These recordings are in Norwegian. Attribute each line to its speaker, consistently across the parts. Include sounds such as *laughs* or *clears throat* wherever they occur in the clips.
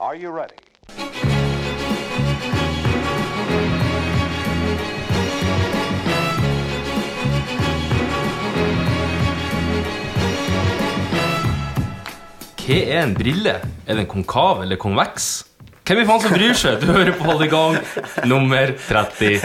Speaker 1: Are you ready?
Speaker 2: Hva er en brille? Er den konkav eller konveks? Hvem i faen som bryr seg? Du hører på Holdegang nummer 36.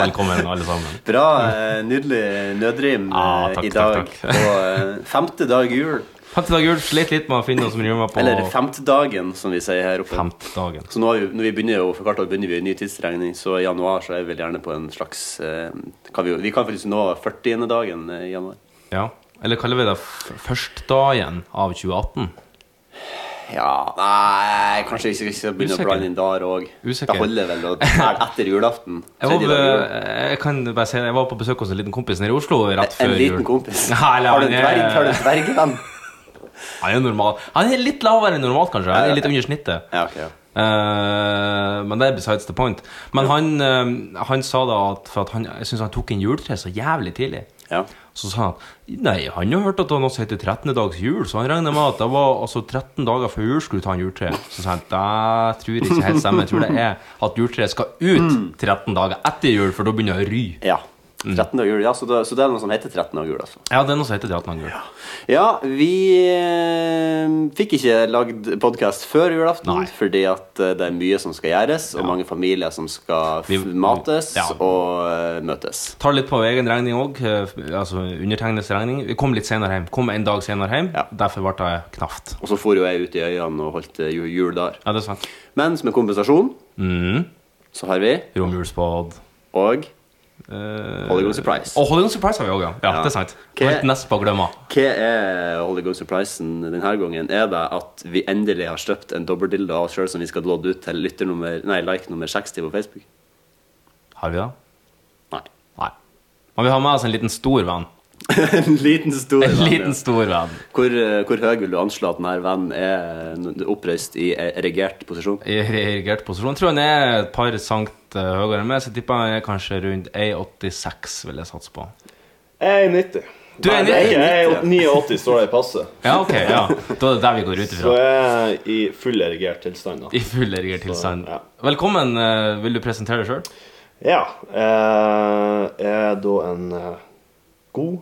Speaker 2: Velkommen, alle sammen.
Speaker 3: Bra, eh, nydelig nødrim eh,
Speaker 2: Ah, takk,
Speaker 3: i
Speaker 2: takk,
Speaker 3: dag.
Speaker 2: takk.
Speaker 3: På eh, femte dag jul. *laughs*
Speaker 2: Femte dag jul. Slet litt med å finne noe som rimer på
Speaker 3: Eller femtedagen, som vi sier her oppe.
Speaker 2: femte dagen.
Speaker 3: Så nå har vi, når vi begynner jo, for hvert år begynner vi en ny tidsregning, så i januar så er vi vel gjerne på en slags eh, kan vi, jo- vi kan faktisk nå 40. dagen eh, i januar.
Speaker 2: Ja. Eller kaller vi det f- førstdagen av 2018?
Speaker 3: Ja Nei, kanskje vi ikke skal begynne
Speaker 2: Usikker.
Speaker 3: å blande inn der òg.
Speaker 2: Usikker.
Speaker 3: Det holder vel å telle etter julaften.
Speaker 2: *laughs* Jeg var, på,
Speaker 3: Tredje dag i jul.
Speaker 2: jeg, kan bare si, det, jeg var på besøk hos en liten kompis nede i Oslo rett før
Speaker 3: En liten
Speaker 2: jul.
Speaker 3: kompis.
Speaker 2: *laughs* Nei, eller
Speaker 3: Har du en
Speaker 2: han er-
Speaker 3: dverg? Har du
Speaker 2: *laughs*
Speaker 3: en dvergvenn?
Speaker 2: Han er normal. Han er litt lavere enn normalt, kanskje. Han
Speaker 3: Ja,
Speaker 2: er
Speaker 3: ja.
Speaker 2: litt under snittet.
Speaker 3: Ja, ok, ja.
Speaker 2: Eh, men det er besides the point. Men han, eh, han sa da at, for at han, jeg synes han tok en juletre så jævlig tidlig.
Speaker 3: ja.
Speaker 2: Så sa han at nei, han har hørt at det var noe som heter 13. dags jul, så han regner med at det var altså 13 dager før jul skulle ta en juletre. Så sa han det tror jeg ikke helt stemmer. Jeg tror det er at juletreet skal
Speaker 3: Mm.
Speaker 2: ut 13 dager etter jul, for da begynner det å ry.
Speaker 3: Ja.
Speaker 2: Mm.
Speaker 3: 13. av jul, ja, så det, så det er noe som heter 13. av jul, altså.
Speaker 2: Ja, det er noe som heter 13. dager jul.
Speaker 3: Ja, vi eh, fikk ikke lagd podkast før julaften
Speaker 2: Nei.
Speaker 3: fordi at eh, det er mye som skal gjøres, og mange familier som skal f
Speaker 2: Vi-
Speaker 3: mates
Speaker 2: ja.
Speaker 3: og eh, møtes.
Speaker 2: Tar litt på egen regning òg. Altså undertegnedes regning. Vi kom litt senere hjem. Kom en dag senere hjem.
Speaker 3: Ja.
Speaker 2: Derfor ble det knapt.
Speaker 3: Og så for jo jeg ut i øynene og holdt eh, ju- jul der.
Speaker 2: Ja, det er sant.
Speaker 3: Men som en kompensasjon
Speaker 2: Mm.
Speaker 3: så har vi
Speaker 2: Romjulsbad.
Speaker 3: og
Speaker 2: Uh,
Speaker 3: Hollywood Surprise.
Speaker 2: Og Hollywood Surprise har vi òg, ja. ja.
Speaker 3: Ja.
Speaker 2: Det er sant.
Speaker 3: Hva-
Speaker 2: Helt nest på å glemme.
Speaker 3: Hva er Hollywood Surprisen denne gangen? Er det at vi endelig har støpt en dobbeldildo av oss sjøl som vi skal lodde ut til lytter nummer, nei, like nummer 60 på Facebook?
Speaker 2: Har vi det?
Speaker 3: Nei. *laughs*
Speaker 2: Nei. Men vi har med oss en liten stor *laughs* venn.
Speaker 3: en liten stor
Speaker 2: En
Speaker 3: venn, ja.
Speaker 2: liten stor venn.
Speaker 3: Hvor, eh, hvor høy vil du anslå at denne vennen er n- oppreist i e- erigert posisjon?
Speaker 2: I reerigert posisjon. Jeg tror han er et par sankt eh, høyere enn meg, så jeg tipper han er kanskje rundt 1,86, vil jeg satse på.
Speaker 4: Jeg er 90.
Speaker 2: Du er
Speaker 4: Nei, det
Speaker 2: 90?
Speaker 4: ikke jeg. Jeg er 89, står det i passet.
Speaker 2: Ja, ok. ja. Da er det der vi går ut
Speaker 4: Så
Speaker 2: *laughs* ifra.
Speaker 4: jeg er i full erigert tilstand. da.
Speaker 2: I full erigert tilstand.
Speaker 4: Så, ja.
Speaker 2: Velkommen. eh, Vil du presentere deg sjøl?
Speaker 4: Ja. eh, Jeg er da en eh, god,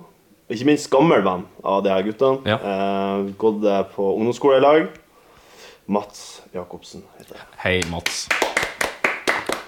Speaker 4: ikke minst gammel venn av de her guttene.
Speaker 2: Ja.
Speaker 4: Eh, Gått eh, på ungdomsskole i lag. Mats Jacobsen heter jeg.
Speaker 2: Hei, Mats.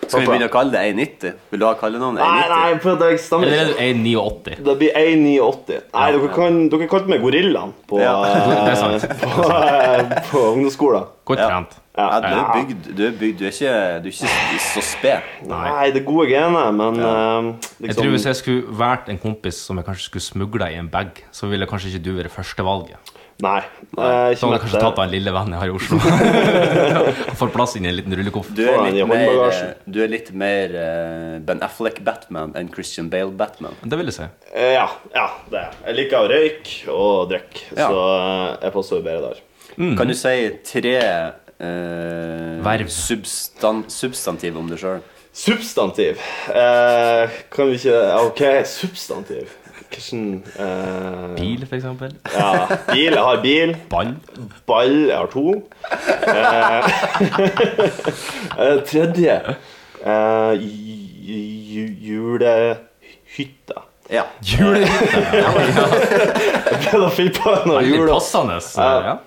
Speaker 3: Skal vi begynne å kalle det 1,90? Vil du ha kallenavnet
Speaker 4: Nei,
Speaker 3: 1,90?
Speaker 4: nei, for at jeg stammer
Speaker 2: Eller er
Speaker 4: ikke.
Speaker 2: du 1,89?
Speaker 4: Det blir 1,89. Nei, dere, kan, dere kalte meg Gorillaen på,
Speaker 3: Ja.
Speaker 4: eh,
Speaker 2: *laughs* Det er sant.
Speaker 4: på, eh, på ungdomsskolen.
Speaker 2: Godt
Speaker 3: Ja.
Speaker 2: trent.
Speaker 4: Ja.
Speaker 3: Ja, du er bygd, du er, bygd du, er ikke, du er ikke så sped.
Speaker 2: Nei.
Speaker 4: Nei, det er gode gener, men eh, liksom,
Speaker 2: Jeg tror Hvis jeg skulle vært en kompis som jeg kanskje skulle smugla i en bag, så ville kanskje ikke du vært førstevalget.
Speaker 4: Nei. eh,
Speaker 2: Så
Speaker 4: ikke
Speaker 2: hadde jeg
Speaker 4: mett
Speaker 2: kanskje
Speaker 4: det.
Speaker 2: tatt av en lille venn jeg har i Oslo. Og fått plass inn i en liten rullekoffert.
Speaker 3: Du er
Speaker 4: Faen, i
Speaker 3: litt mer, eh,
Speaker 4: håndbagasjen.
Speaker 3: du er litt mer eh, Ben Affleck-Batman enn Christian Bale-Batman.
Speaker 2: Det vil jeg si.
Speaker 4: Eh, ja, ja, det er jeg. Jeg liker å røyke og drikke,
Speaker 3: Ja.
Speaker 4: så eh, jeg passer jo bedre der.
Speaker 3: Kan du si tre eh,
Speaker 2: Mhm. Verv.
Speaker 3: substan substantiv om deg sjøl?
Speaker 4: Substantiv. Eh, kan vi ikke OK, substantiv. Hvordan eh,
Speaker 2: Bil, for eksempel.
Speaker 4: Ja, bil. Jeg har bil.
Speaker 2: Ball.
Speaker 4: Ball. Jeg har to. Eh, *laughs* eh, tredje eh, ju- ju- Julehytta.
Speaker 3: Ja.
Speaker 2: Julehytte.
Speaker 4: *laughs* Jeg prøvde å finne på noe
Speaker 2: Veldig
Speaker 4: jule...
Speaker 2: passende. Ja.
Speaker 4: Ja.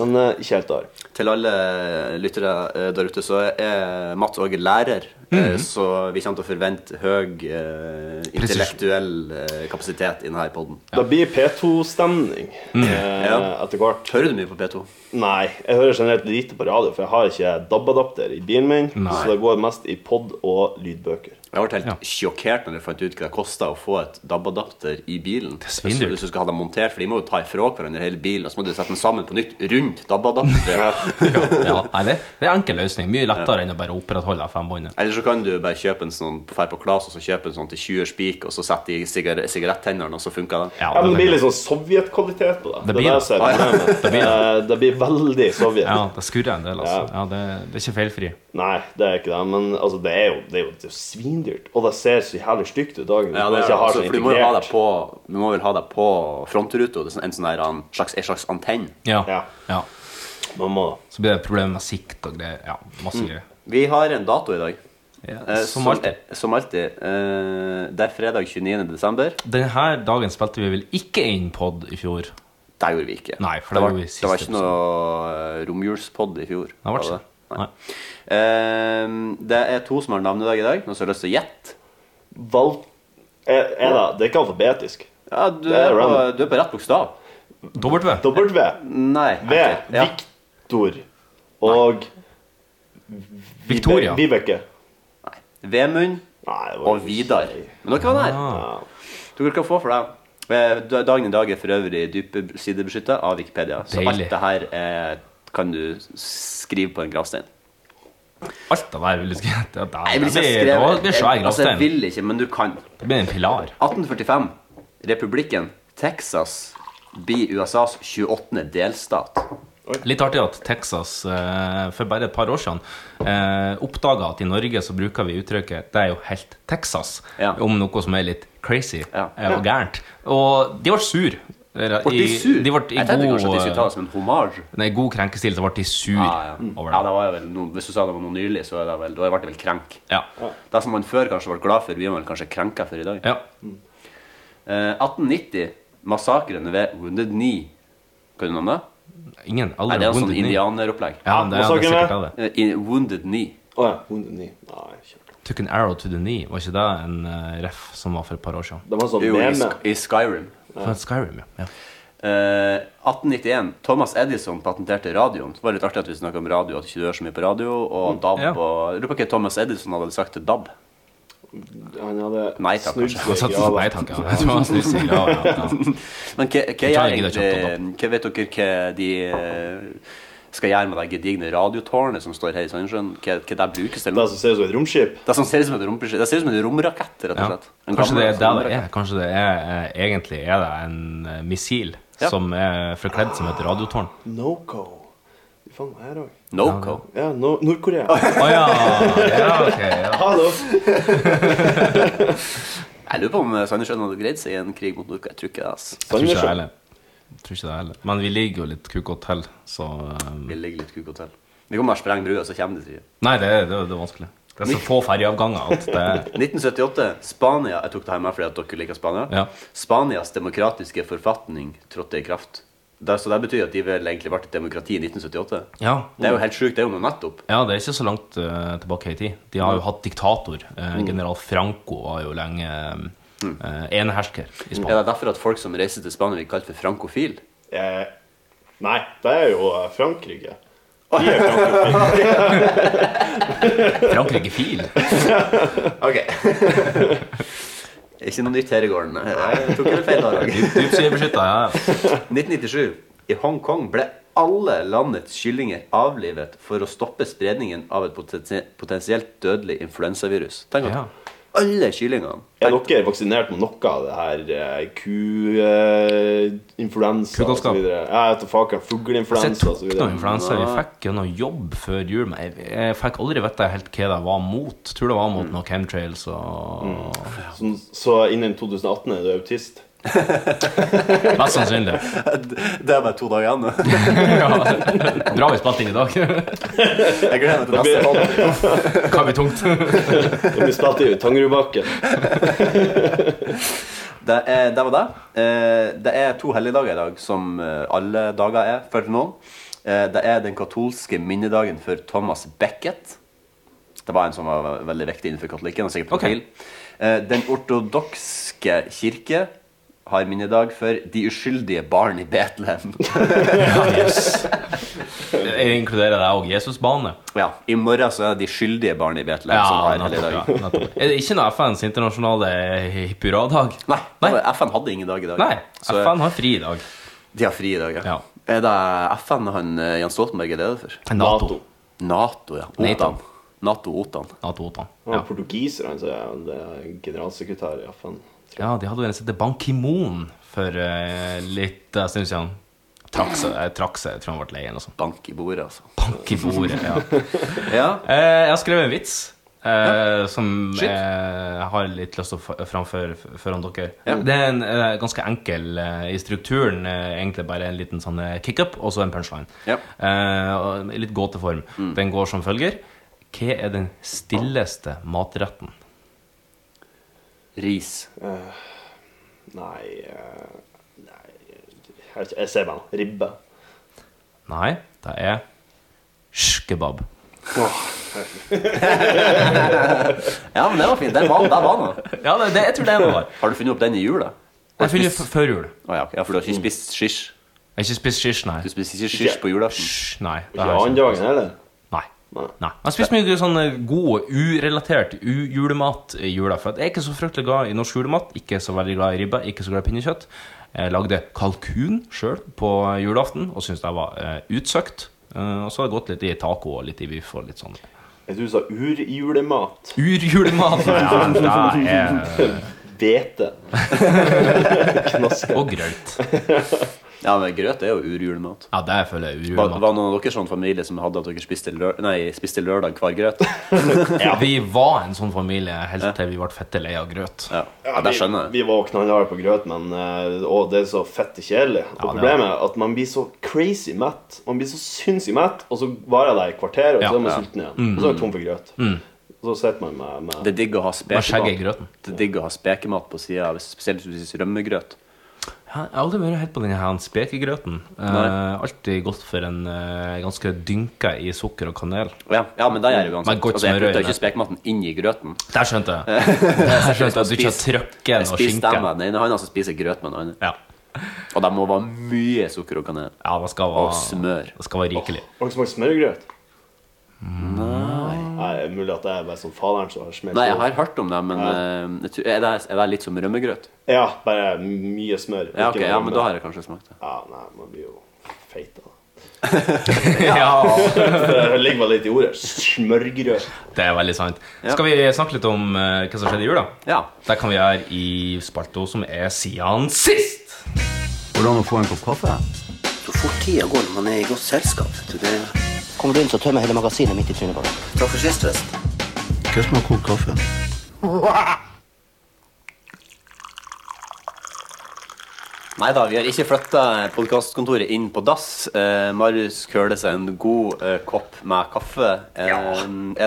Speaker 4: Men eh, ikke helt der.
Speaker 3: Til alle lyttere eh, der ute, så er Mats Åge lærer.
Speaker 2: Mhm.
Speaker 3: eh, Så vi kommer til å forvente høy eh, intellektuell eh, kapasitet i denne poden.
Speaker 4: Det blir P2-stemning
Speaker 2: Mm.
Speaker 4: eh,
Speaker 3: Ja.
Speaker 4: etter hvert.
Speaker 3: Hører du mye på P2?
Speaker 4: Nei, jeg hører generelt lite på radio, for jeg har ikke DAB-adapter i bilen min.
Speaker 2: Nei.
Speaker 4: Så det går mest i pod og lydbøker.
Speaker 3: Jeg ble helt
Speaker 2: Ja.
Speaker 3: sjokkert når jeg fant ut hva det kosta å få et DAB-adapter i bilen. Hvis
Speaker 2: svindyrt.
Speaker 3: du hvis du skal ha dem montert, for de må jo ta ifra hverandre hele bilen, og så må du sette den sammen på nytt rundt
Speaker 2: *laughs*
Speaker 3: DAB-adapteret.
Speaker 2: Ja, nei, det det er en enkel løsning. Mye lettere enn å bare opprettholde FM-båndet.
Speaker 3: Eller så kan du bare kjøpe en sånn på Fær på Klas og så kjøpe en sånn til 20 spik, og så sette i sigar sigarettennene, og så funker det.
Speaker 2: Ja,
Speaker 4: Ja,
Speaker 2: det
Speaker 4: men Det blir
Speaker 2: tenker jeg.
Speaker 4: litt sånn sovjetkvalitet på det.
Speaker 2: Det
Speaker 4: Det,
Speaker 2: blir det.
Speaker 4: er det som er problemet.
Speaker 2: *laughs* Det blir det.
Speaker 4: Eh, det blir veldig sovjet.
Speaker 2: ja, det skurrer en del, altså. Ja, det, det er ikke feilfri.
Speaker 4: Nei, det er ikke det. Men altså, det er jo, det er jo, det er jo svindyrt. Og det ser så jævlig stygt ut dagen.
Speaker 3: Ja, det
Speaker 4: når man
Speaker 3: er,
Speaker 4: ikke har
Speaker 3: altså,
Speaker 4: sånn
Speaker 3: for du må jo ha deg
Speaker 4: integrert.
Speaker 3: på Du må vel ha deg på frontruta. Det er sånn- En sånn her, en slags, en slags antenn.
Speaker 2: Ja.
Speaker 4: Ja.
Speaker 2: ja.
Speaker 4: Mamma.
Speaker 2: Så blir det problemer med sikt og greier. Ja, masse greier.
Speaker 3: Vi har en dato i dag.
Speaker 2: Ja,
Speaker 3: Eh,
Speaker 2: som alltid.
Speaker 3: Som alltid. Eh, det er fredag 29. desember.
Speaker 2: Denne dagen spilte vi vel ikke inn pod i fjor.
Speaker 3: Det gjorde vi ikke.
Speaker 2: Nei, for det
Speaker 3: det,
Speaker 2: gjorde vi
Speaker 3: var,
Speaker 2: siste
Speaker 3: det var ikke noe eh, romjulspod i fjor.
Speaker 2: Det ble ikke
Speaker 3: var det? Nei.
Speaker 2: Nei.
Speaker 3: Eh, det er to som har navnedag i dag. Noen som har lyst til å gjette?
Speaker 4: Val... Er, er det, det er ikke alfabetisk.
Speaker 3: Ja, du
Speaker 4: Det
Speaker 3: er,
Speaker 4: er
Speaker 3: på,
Speaker 4: random.
Speaker 3: du er på rett bokstav.
Speaker 2: W.
Speaker 4: W.
Speaker 3: Nei.
Speaker 4: V.
Speaker 3: ok, Ja.
Speaker 4: Viktor. Og
Speaker 2: Victoria.
Speaker 4: Vibeke.
Speaker 3: Vemund
Speaker 4: Nei, det var
Speaker 3: og Vidar. Men dere var nær.
Speaker 2: Ah.
Speaker 4: Ja.
Speaker 3: Dere kan få for det. Eh, da- Dagen i dag er for øvrig dypsidebeskytta av Wikipedia. Så alt
Speaker 2: Deilig.
Speaker 3: det her eh, kan du skrive på en gravstein.
Speaker 2: Alt det der ville jeg skrevet. Det, det,
Speaker 3: Jeg vil
Speaker 2: det,
Speaker 3: ikke
Speaker 2: blir-
Speaker 3: skrive
Speaker 2: det, blir svær
Speaker 3: jeg, altså, jeg
Speaker 2: gravstein.
Speaker 3: vil ikke, men du kan.
Speaker 2: Det blir en pilar.
Speaker 3: 1845. Republikken Texas blir USAs 28. delstat.
Speaker 2: Litt artig at Texas eh, for bare et par år siden eh, oppdaga at i Norge så bruker vi uttrykket 'det er jo helt Texas'
Speaker 3: Ja.
Speaker 2: om noe som er litt crazy
Speaker 3: Ja.
Speaker 2: eh, og gærent. Og de ble sur. Eh,
Speaker 3: Og de
Speaker 2: i-
Speaker 3: sur.
Speaker 2: De ble i
Speaker 3: Jeg tenkte
Speaker 2: god,
Speaker 3: kanskje at de skulle ta det som en hommage. Ah,
Speaker 2: nei, god krenkestil, så ble de sur
Speaker 3: Ja, ja.
Speaker 2: over
Speaker 3: ja,
Speaker 2: det.
Speaker 3: det var jo vel noe, Hvis du sa det var noe nylig, så er det vel, da ble det vel krenk.
Speaker 2: Ja.
Speaker 3: Det som man før kanskje ble glad for, blir man vel kanskje krenka for i dag.
Speaker 2: ja.
Speaker 3: Eh, 1890. Massakren ved Wounded Knee. Kan du noe om det?
Speaker 2: Ingen
Speaker 3: Nei,
Speaker 2: aldri
Speaker 3: det er en sånn
Speaker 2: vunnet ni.
Speaker 3: indianeropplegg.
Speaker 2: Ja, det, ja, det er
Speaker 4: Massakren,
Speaker 2: sikkert det.
Speaker 3: Eh, i- Wounded Knee.
Speaker 4: Å ja. 109. Nei, kjørt.
Speaker 2: Took an arrow to the knee. Var ikke det en eh, ref som var for et par år siden?
Speaker 4: Det var sånn
Speaker 3: Jo, i,
Speaker 4: meme.
Speaker 3: Sk- i Skyrim.
Speaker 2: For Skyrim, ja. ja.
Speaker 3: Eh, 1891. Thomas Edison patenterte radioen. Det var litt artig at vi snakket om radio, at ikke du hører så mye på radio. Og DAB
Speaker 2: Mm, ja.
Speaker 3: og Jeg lurer på hva Thomas Edison hadde sagt til DAB. *laughs*
Speaker 4: Han hadde
Speaker 3: Nei takk,
Speaker 4: snudd
Speaker 3: kanskje.
Speaker 2: Han satt
Speaker 4: seg i
Speaker 2: sånn,
Speaker 4: grava.
Speaker 2: Nei takk, ja. Jeg tror han snudde seg i grava, ja. ja.
Speaker 3: Men hva, hva,
Speaker 2: Jeg
Speaker 3: er
Speaker 2: tror jeg gidder ikke å
Speaker 3: egentlig, hva vet dere hva de eh, skal gjøre med det gedigne radiotårnet som står her i Sandnessjøen? Hva, hva det brukes til?
Speaker 4: Det som ser ut som et romskip.
Speaker 3: Det som ser ut som et romprosjekt- Det ser ut som en romrakett, rett og
Speaker 2: Ja.
Speaker 3: slett. En
Speaker 2: Kanskje det
Speaker 3: gammel
Speaker 2: er der det
Speaker 3: romrakett.
Speaker 2: er. Kanskje det er eh, egentlig er det en eh, missil
Speaker 3: Ja.
Speaker 2: som er forkledd som et radiotårn.
Speaker 4: Noco. Fy faen, hva er det òg?
Speaker 3: Noco.
Speaker 4: Ja, no *laughs* Nord-Korea.
Speaker 2: *laughs* Å ja! ja, ok, ja.
Speaker 4: Hallo!
Speaker 3: Jeg lurer på om eh, Sandnessjøen hadde greid seg i en krig mot Nordkorea. Jeg tror ikke det. ass.
Speaker 2: Jeg tror ikke Sånn det heller. Jeg tror ikke det heller. Men vi ligger jo litt kukott til, så eh,
Speaker 3: Vi ligger litt kukk til. Vi kommer og sprenger brua, så kommer de til
Speaker 2: Nei, det, er- det, er- det er vanskelig. Det er så få ferjeavganger at det er
Speaker 3: 1978. Spania Jeg tok det her med fordi at dere liker Spania.
Speaker 2: Ja.
Speaker 3: Spanias demokratiske forfatning trådte i kraft. Det, så det betyr at de vel egentlig ble et demokrati i 1978.
Speaker 2: Ja.
Speaker 3: Det er jo helt sjukt. Det er jo noe nettopp.
Speaker 2: Ja, det er ikke så langt eh, tilbake i tid. De har jo hatt diktator. Eh, General Franco var jo lenge eh, enehersker i
Speaker 3: Er
Speaker 2: Spania.
Speaker 3: det derfor at folk som reiser til Spania, blir kalt for frankofil?
Speaker 4: Eh, nei, det er jo eh, Frankrike. De er Frankrike.
Speaker 2: Frankrike-fil.
Speaker 3: *laughs* Ok. Ikke noe nytt her i gården. Nei, jeg tok en feil *laughs* dag.
Speaker 2: Dypsidebeskytta, ja.
Speaker 3: 1997. I Hongkong ble alle landets kyllinger avlivet for å stoppe spredningen av et potensi- potensielt dødelig influensavirus. Tenk at
Speaker 2: Ja.
Speaker 3: alle kyllingene
Speaker 4: Er dere vaksinert mot noe av det her eh, ku... Eh, influensa og så
Speaker 2: Kugalskap.
Speaker 4: videre? Ja, jeg vet da
Speaker 2: Så
Speaker 4: faen.
Speaker 2: jeg
Speaker 4: Fugleinfluensa og
Speaker 2: tok
Speaker 4: så
Speaker 2: noe
Speaker 4: videre.
Speaker 2: influensa. Vi fikk jo noe jobb før jul, men jeg, jeg fikk aldri vite helt hva det var mot. Tror det var mot noe chemtrails og
Speaker 4: Så, så innen 2018 er du autist?
Speaker 2: *laughs* Mest sannsynlig.
Speaker 3: Det er bare to dager igjen.
Speaker 2: Ja. Bra vi spilte inn i dag. *laughs*
Speaker 3: Jeg gleder meg til
Speaker 4: Det blir, det
Speaker 2: Kan bli tungt.
Speaker 4: blir spilt i Tangerudbakken.
Speaker 3: Det, er, det var det. Eh, Det er to helligdager i dag, som eh, alle dager er for noen. Eh, Det er den katolske minnedagen for Thomas Beckett. Det var en som var veldig viktig innenfor katolikken. og sikkert
Speaker 2: Ok.
Speaker 3: profil. Eh, Den ortodokske kirke har minnedag for De uskyldige barn i Betlehem. *laughs*
Speaker 2: Yes. Jeg inkluderer deg òg. Jesusbane.
Speaker 3: ja, I morgen så er det De skyldige barn i Betlehem som har
Speaker 2: nettopp,
Speaker 3: helligdag.
Speaker 2: ja, nettopp. Er det ikke noe FNs internasjonale hipp hurra-dag?
Speaker 3: Nei,
Speaker 2: Nei.
Speaker 3: FN hadde ingen dag i dag.
Speaker 2: Nei,
Speaker 3: Så-
Speaker 2: FN har fri i dag.
Speaker 3: De har fri i dag, ja.
Speaker 2: Ja.
Speaker 3: Er det FN han eh, Jens Stoltenberg er leder for?
Speaker 2: *laughs* NATO.
Speaker 3: Nato, ja.
Speaker 2: NATO.
Speaker 3: OTAN. Nato-OTAN.
Speaker 2: NATO-OTAN.
Speaker 4: Ja.
Speaker 2: Ja.
Speaker 4: Portugiserne så er han det generalsekretær i FN.
Speaker 2: ja, de hadde jo en som heter Ban Ki-moon for eh, litt eh, stund siden. Trakk seg, eh, trakk seg, jeg tror han ble lei eller noe sånt.
Speaker 3: Bank i bordet, altså.
Speaker 2: Bank i bordet, altså. ja.
Speaker 3: Ja.
Speaker 2: Eh, jeg har skrevet en vits. eh, som
Speaker 3: Shit.
Speaker 2: jeg har litt lyst til å f- framføre f- foran dere.
Speaker 3: Ja.
Speaker 2: Det er en eh, ganske enkel eh, i strukturen. eh, egentlig bare en liten sånn eh, kickup og så en punchline.
Speaker 3: Ja. Mm.
Speaker 2: Eh, og i litt gåteform. Den går som følger. Hva er den stilleste matretten?
Speaker 3: Ris.
Speaker 4: Nei, eh, nei Jeg jeg ser meg nå. Ribbe.
Speaker 2: Nei, det er Shkebab.
Speaker 3: Ja, men det var fint. Den var, der var den.
Speaker 2: Ja, det, det, jeg tror det er noe der.
Speaker 3: Har du funnet opp den i jula? Har
Speaker 2: Jeg
Speaker 3: du
Speaker 2: finner
Speaker 3: spist-
Speaker 2: f- Mm. før jul.
Speaker 3: Å ja, ok. ja, for du har ikke spist skish?
Speaker 2: Jeg har ikke spist skish, nei.
Speaker 3: Du spiser ikke skish
Speaker 4: Ikke-
Speaker 3: på julaften?
Speaker 2: Sh, nei, det
Speaker 4: Ikke
Speaker 2: har jeg
Speaker 4: annen
Speaker 2: ikke.
Speaker 4: dagen heller.
Speaker 2: Nei.
Speaker 4: Nei.
Speaker 2: Nei. Jeg spiser mye sånn god, urelatert u- julemat i jula. For at jeg er ikke så fryktelig glad i norsk julemat. Ikke så veldig glad i ribbe, ikke så glad i pinnekjøtt. Jeg lagde kalkun sjøl på julaften og syntes det var eh, utsøkt. Eh, og så har det gått litt i taco og litt i biff og litt sånn.
Speaker 4: Jeg tror du sa urjulemat.
Speaker 2: Urjulemat! Ja, det er
Speaker 4: *laughs* Hvete. Knaske.
Speaker 2: Og grøt.
Speaker 3: Ja, men grøt er jo urjulemat.
Speaker 2: Ja, det føler jeg
Speaker 3: Var,
Speaker 2: urjulemat.
Speaker 3: var noen av dere sånn familie som hadde at dere spiste, lør nei, spiste lørdag
Speaker 2: *laughs*
Speaker 3: hver grøt?
Speaker 2: Vi var en sånn familie helt til vi ble fette lei av grøt.
Speaker 3: Ja,
Speaker 4: Ja,
Speaker 3: ja det skjønner jeg.
Speaker 4: Vi, vi var knallharde på grøt, men eh, å, det er så fette kjedelig.
Speaker 2: Ja, det
Speaker 4: Og
Speaker 2: er-
Speaker 4: problemet er at man blir så crazy mett. Man blir så sinnssykt mett, og så varer det i kvarter, og
Speaker 2: Ja, Mm.
Speaker 4: så er man
Speaker 3: ja.
Speaker 4: sulten igjen. Og så er man tom for grøt. Så sitter man med, med
Speaker 3: Det er digg å ha
Speaker 2: Hva skjegget i
Speaker 3: spekemat.
Speaker 2: grøten?
Speaker 3: Det er digg å ha spekemat på sida, spesielt hvis du spiser rømmegrøt.
Speaker 2: Jeg har aldri vært helt på denne her spekegrøten. Eh, alltid gått for en eh, ganske dynka i sukker og kanel.
Speaker 3: Ja, ja men det gjør jeg
Speaker 2: Mm. Men
Speaker 3: uansett.
Speaker 2: godt
Speaker 3: Altså, jeg
Speaker 2: smør i
Speaker 3: putter
Speaker 2: øynene.
Speaker 3: ikke spekematen inn i grøten.
Speaker 2: Der skjønte *laughs* jeg. Der skjønte jeg at du ikke har
Speaker 3: Jeg
Speaker 2: trøkken og
Speaker 3: spiser den
Speaker 2: skinken.
Speaker 3: med den ene hånda, så spiser jeg grøt med den andre.
Speaker 2: Ja.
Speaker 3: Og det må være mye sukker og kanel.
Speaker 2: ja, det skal
Speaker 3: Og
Speaker 2: være,
Speaker 3: smør.
Speaker 2: det skal være rikelig.
Speaker 4: Har dere smakt smørgrøt?
Speaker 3: Mm.
Speaker 4: Nei. Nei, det er Mulig at det er bare sånn faderen som har smelt
Speaker 3: Nei, jeg
Speaker 4: over.
Speaker 3: har hørt om det, men eh, jeg tror- er, det, er det litt som rømmegrøt?
Speaker 4: Ja, bare mye smør.
Speaker 3: Ja,
Speaker 4: ikke
Speaker 3: ok,
Speaker 4: noe
Speaker 3: ja, men
Speaker 4: rømme.
Speaker 3: da har jeg kanskje smakt det.
Speaker 4: Ja, nei, man blir jo feit da.
Speaker 2: *laughs* Ja,
Speaker 4: Det ligger vel litt i ordet. Smørgrøt.
Speaker 2: det er veldig sant.
Speaker 3: Ja.
Speaker 2: Skal vi snakke litt om eh, hva som skjedde i jula?
Speaker 3: Ja.
Speaker 2: Det kan vi gjøre i spalto som er siden sist.
Speaker 1: Hvordan å få en kopp kaffe?
Speaker 5: Så fort tida går når man er i godt selskap. vet du. Det
Speaker 6: Kommer du inn, så tømmer jeg hele magasinet mitt i trynet på deg.
Speaker 5: Takk for sist, forresten.
Speaker 1: Hva som er kokt kaffe?
Speaker 3: Nei da, vi har ikke flytta podkastkontoret inn på dass. Eh, Marius køler seg en god eh, kopp med kaffe. Eh, Er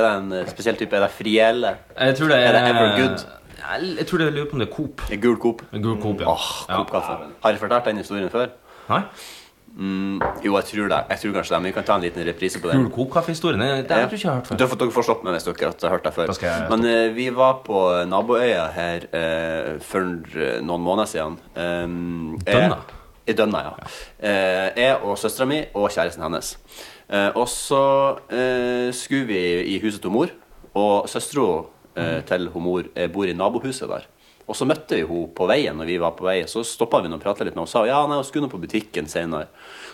Speaker 3: det en eh, spesiell type? Er det friele?
Speaker 2: Jeg tror det
Speaker 3: Er
Speaker 2: er,
Speaker 3: det Evergood?
Speaker 2: Jeg, jeg tror det jeg lurer på om det er Coop.
Speaker 3: En Gul Coop?
Speaker 2: Gul Coop, ja.
Speaker 3: Åh,
Speaker 2: ja.
Speaker 3: Coop-kaffe. Har jeg fortalt den historien før?
Speaker 2: Nei?
Speaker 3: Jo, jeg tror det. Jeg tror kanskje det, men Vi kan ta en liten reprise på den.
Speaker 2: Gul Coop-kaffehistorien? Det det har du ikke hørt før.
Speaker 3: Da får dere få stoppe meg hvis dere har hørt det før.
Speaker 2: Da skal jeg-
Speaker 3: Men eh, vi var på naboøya her eh, for eh, noen måneder siden. Um,
Speaker 2: Dønna?
Speaker 3: I Dønna, ja. Eh, jeg og søstera mi og kjæresten hennes. Eh, og så eh, skulle vi i huset til mor, og søstera eh, til hun mor eh, bor i nabohuset der. Og så møtte vi henne på veien, når vi var på vei, så stoppa vi henne og prata litt med henne. Og sa ja, nei, hun skulle nå på butikken senere.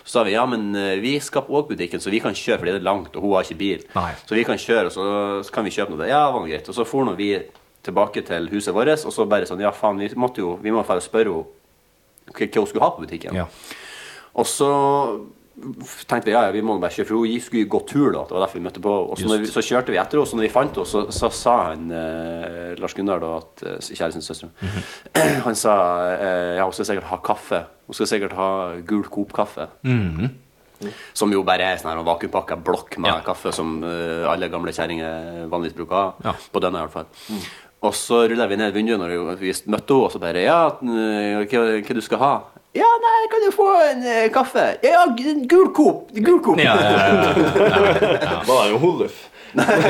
Speaker 3: Så sa vi ja, men eh, vi skal på også butikken, så vi kan kjøre, fordi det er langt, og hun har ikke bil.
Speaker 2: Nei.
Speaker 3: Så vi kan kjøre, og så, så kan vi kjøpe noe. Ja, det var noe greit. Og så for nå vi tilbake til huset vårt, og så bare sånn, ja faen, vi måtte jo, vi må bare spørre henne hva hva hun skulle ha på butikken.
Speaker 2: Ja.
Speaker 3: Og så tenkte vi ja, ja, vi må bare kjøre, for hun skulle gå tur, da. Det var derfor vi møtte på. Og så, når vi,
Speaker 2: Just.
Speaker 3: så kjørte vi etter henne, og så når vi fant henne, så, så sa han eh, Lars Gunnar, da, at eh, kjærestens søster *clears throat* Han sa eh, ja, hun skal sikkert ha kaffe. Hun skal sikkert ha gul Coop-kaffe. Som jo bare er sånn her vakuumpakka blokk med
Speaker 2: Ja.
Speaker 3: kaffe, som eh, alle gamle kjerringer vanligvis bruker å ha.
Speaker 2: Ja. Mm.
Speaker 3: På denne, i hvert fall. Og så rulla vi ned vinduet når vi møtte henne, og så bare Ja, eh, hva, hva du skal ha? Ja, nei, kan du få en eh, kaffe? Ja, g- en gul Coop! Gul Coop!
Speaker 2: Ja,
Speaker 3: *laughs*
Speaker 2: ja, ja, ja.
Speaker 4: Var det jo Holuf?